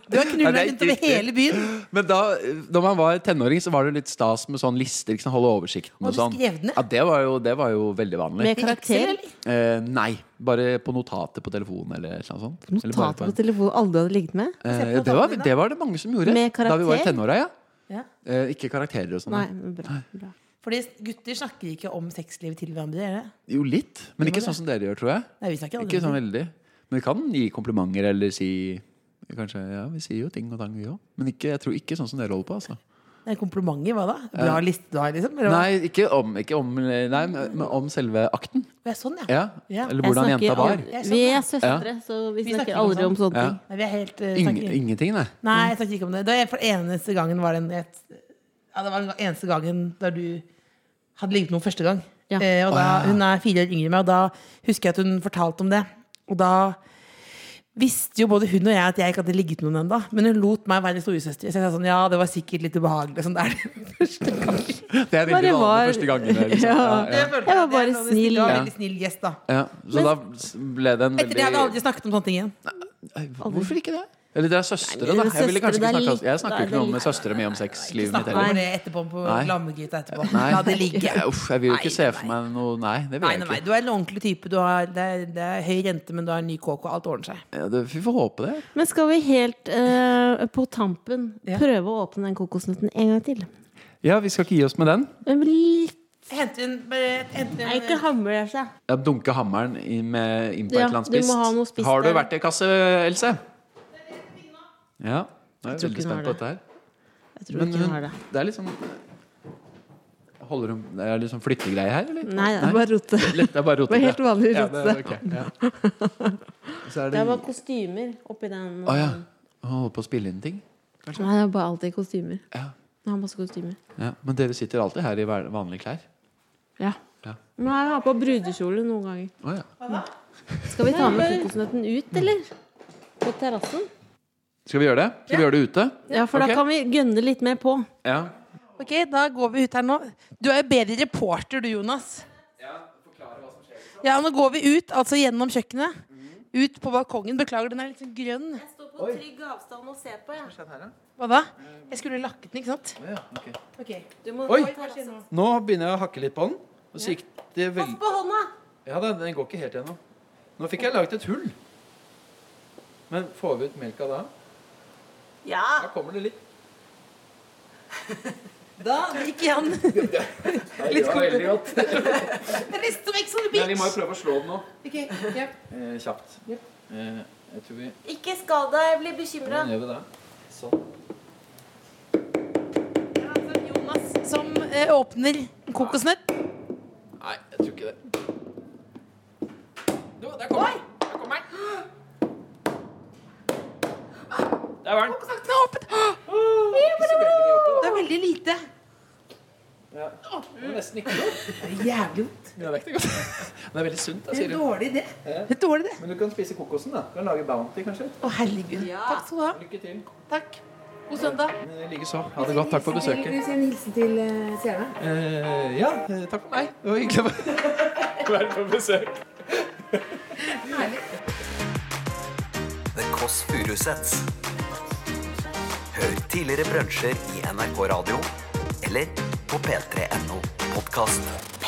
B: Du har
G: Ja,
B: knulla
G: det er
B: rundt over
G: riktig.
B: hele byen.
G: Men da da man var tenåring, så var det litt stas med sånn lister. Ikke sant, holde oversikten og
B: Har du
G: sånn.
B: skrevet ned?
G: Ja, det var jo, det var jo veldig vanlig.
C: Med karakter.
G: Eh, nei. Bare på notater på telefonen eller et eller annet sånt. Eller bare
C: Notater
G: på en-
C: på telefonen alle du hadde ligget med?
B: på
G: Eh, ja, det, var,
B: notatene dine.
G: det var det mange som gjorde.
C: Med
G: Da vi var i
C: karakter?
G: tenåra, ja.
B: Ja.
G: Eh, ikke karakterer og sånn.
C: Nei,
G: da.
C: bra. bra.
B: Fordi gutter snakker ikke om sexlivet til hverandre. Gjør det?
G: Jo, litt. Men
B: Gjorde
G: ikke
B: det?
G: sånn som dere gjør, tror jeg.
B: Nei, vi snakker aldri
G: Ikke
B: om
G: sånn
B: det.
G: veldig. Men vi kan gi komplimenter eller si Kanskje, ja, Vi sier jo ting og tang, vi òg. Men ikke, jeg tror ikke sånn som dere holder på. altså
B: Nei, Komplimenter, hva da? Bra liste du har, liksom? Eller hva?
G: Nei, ikke om, ikke om, nei, men men om selve akten.
B: Vi er sånn, ja.
G: Ja.
B: Ja.
G: Eller
C: Jeg
G: hvordan
C: snakker
G: jenta var.
C: aldri- Vi er søstre, så vi
B: Vi
C: snakker
B: snakker om
C: aldri om sånne
G: sånn. Ja.
C: ting.
B: Nei, vi er helt eh,
G: Ing,
B: snakker-
G: ingenting, nei.
B: Nei, jeg snakker ikke om det. Da jeg, for eneste gangen var det en et, Ja, det var den eneste gangen der du hadde ligget med noen første gang.
C: Ja.
B: Eh, og da,
G: Å, ja.
B: hun er fire år yngre enn meg, og da husker jeg at hun fortalte om det. Og da visste jo både hun og jeg at jeg ikke hadde ligget med noen ennå. Men hun lot meg være storesøster. Så jeg sa sånn, ja, det var sikkert litt ubehagelig. Sånn, det er det første gang.
G: Det er veldig
C: Bare
G: vanlig
C: var-
G: første gangen. Liksom.
C: Ja.
G: Ja,
B: følte
C: Jeg var
B: at det er
C: bare
B: sånn en
C: snill.
B: Det var
G: Ja.
B: en veldig snill gjest, da.
G: ja. Så da s- ble det en
B: Etter det hadde jeg
G: veldig
B: aldri snakket om sånne ting igjen.
G: Nei, Hvorfor ikke det? Eller dere er søstre,
C: Nei, men
G: da.
C: dere er
G: Jeg, ville kanskje
C: søstre,
G: ikke
C: det er
G: snakke, om- jeg
C: litt- det
G: snakker
C: er
G: ikke noe med
C: litt-
G: søstere mi om sexlivet mitt
B: Snakket om
G: heller.
B: det etterpå på
G: Nei.
B: Glammegryta etterpå.
G: Nei.
B: La det ligge.
G: Ja, Uff, jeg vil jo
B: Nei,
G: ikke se
B: nei,
G: for meg noe Nei, det vil
B: Nei,
G: jeg
B: nei, nei,
G: ikke.
B: du er en ordentlig type. Du har, det, er, det er høy rente, men du har en ny kåk, og alt ordner seg.
G: Ja, det- Vi får håpe det.
C: Men skal vi helt eh, på tampen
B: Ja.
C: prøve å åpne den kokosnøtten en gang til?
G: Ja, vi skal ikke gi oss med den.
C: Den blir litt
B: Henter en, bare- henter
C: Nei,
B: en
C: ikke altså. hamrer seg.
G: Ja, dunke hammeren i- med, inn på
C: Ja,
G: et eller annet
C: du må
G: spist.
C: ha noe spist
G: har du
C: der.
G: verktøykasse, Else? Ja. Nå er
C: tror
G: jeg veldig
C: ikke hun
G: spent
C: har
G: på dette her.
C: Jeg tror ikke hun har det.
G: det er liksom Holder hun Det er liksom flyttegreie her, eller?
C: Nei, det er bare rote.
G: Lett, det er bare rotet.
C: Det var helt vanlig
G: Ja, det er- ok, ja. Så er
C: Det
G: det
C: var kostymer oppi den.
G: Å ja. Hun holder på å spille inn ting.
C: Nei, det er bare alltid kostymer.
G: Ja.
C: Jeg har masse kostymer.
G: Ja, men dere sitter alltid her i hver- vanlige klær.
C: Ja.
G: Ja.
C: Men jeg har på brudekjole noen ganger.
G: Å ja.
C: Skal vi ta med kokosnøtten ut, eller? På terrassen?
G: Skal vi gjøre det? Skal vi gjøre det ute?
C: Ja, for
G: Ok.
C: da kan vi gønne litt mer på.
G: Ja.
B: Ok, da går vi ut her nå. Du er jo bedre reporter, du, Jonas. Ja, nå går vi ut, altså gjennom kjøkkenet. Ut på balkongen. Beklager, den er litt sånn grønn.
C: Jeg står på trygg avstand og ser på, jeg.
B: Hva da? Jeg skulle lakket den, ikke sant?
C: Du må
G: Oi. Nå begynner jeg å hakke litt på den. Og sikte vel...
C: På hånda!
G: Ja da, den går ikke helt gjennom. Nå fikk jeg laget et hull. Men får vi ut melka da?
C: Ja!
G: Da kommer det litt.
B: Da gikk han.
G: Litt veldig godt.
B: Rest of Ex on the
G: Men vi
B: beach.
G: må jo prøve å slå den nå.
B: Ok, ja.
G: Eh, kjapt. Eh, jeg tror vi
C: Ikke skad deg, jeg blir bekymra.
G: Hvordan gjør vi det? Sånn.
B: Altså, Jonas som eh, åpner en kokosnøtt.
G: Nei, jeg tror ikke det. Jo, der kommer den. Der kommer den. Der var den.
B: Den er åpen.
G: Ikke så veldig mye oppe, da.
B: Det er veldig lite.
G: Ja. Det var nesten ikke noe.
B: Det er jævlig vondt.
G: Men jeg vet ikke godt. Men det er veldig sunt,
B: Det
G: da,
B: er
G: sier
B: en
G: hun.
B: dårlig idé. Det er en dårlig idé.
G: Men du kan spise kokosen, da. Du kan lage Bounty, kanskje.
B: Å, herregud. Takk skal du ha.
G: Lykke til.
B: Takk. God søndag.
G: Likeså. Ha det godt. Takk for besøket.
H: Vil du si en hilsen til eh, seerne?
G: Eh, ja, eh, takk for meg. Det var hyggelig å være- være på besøk.
A: The Kåss Furuseths. Hør tidligere brunsjer i NRK Radio eller på p3.no podkast.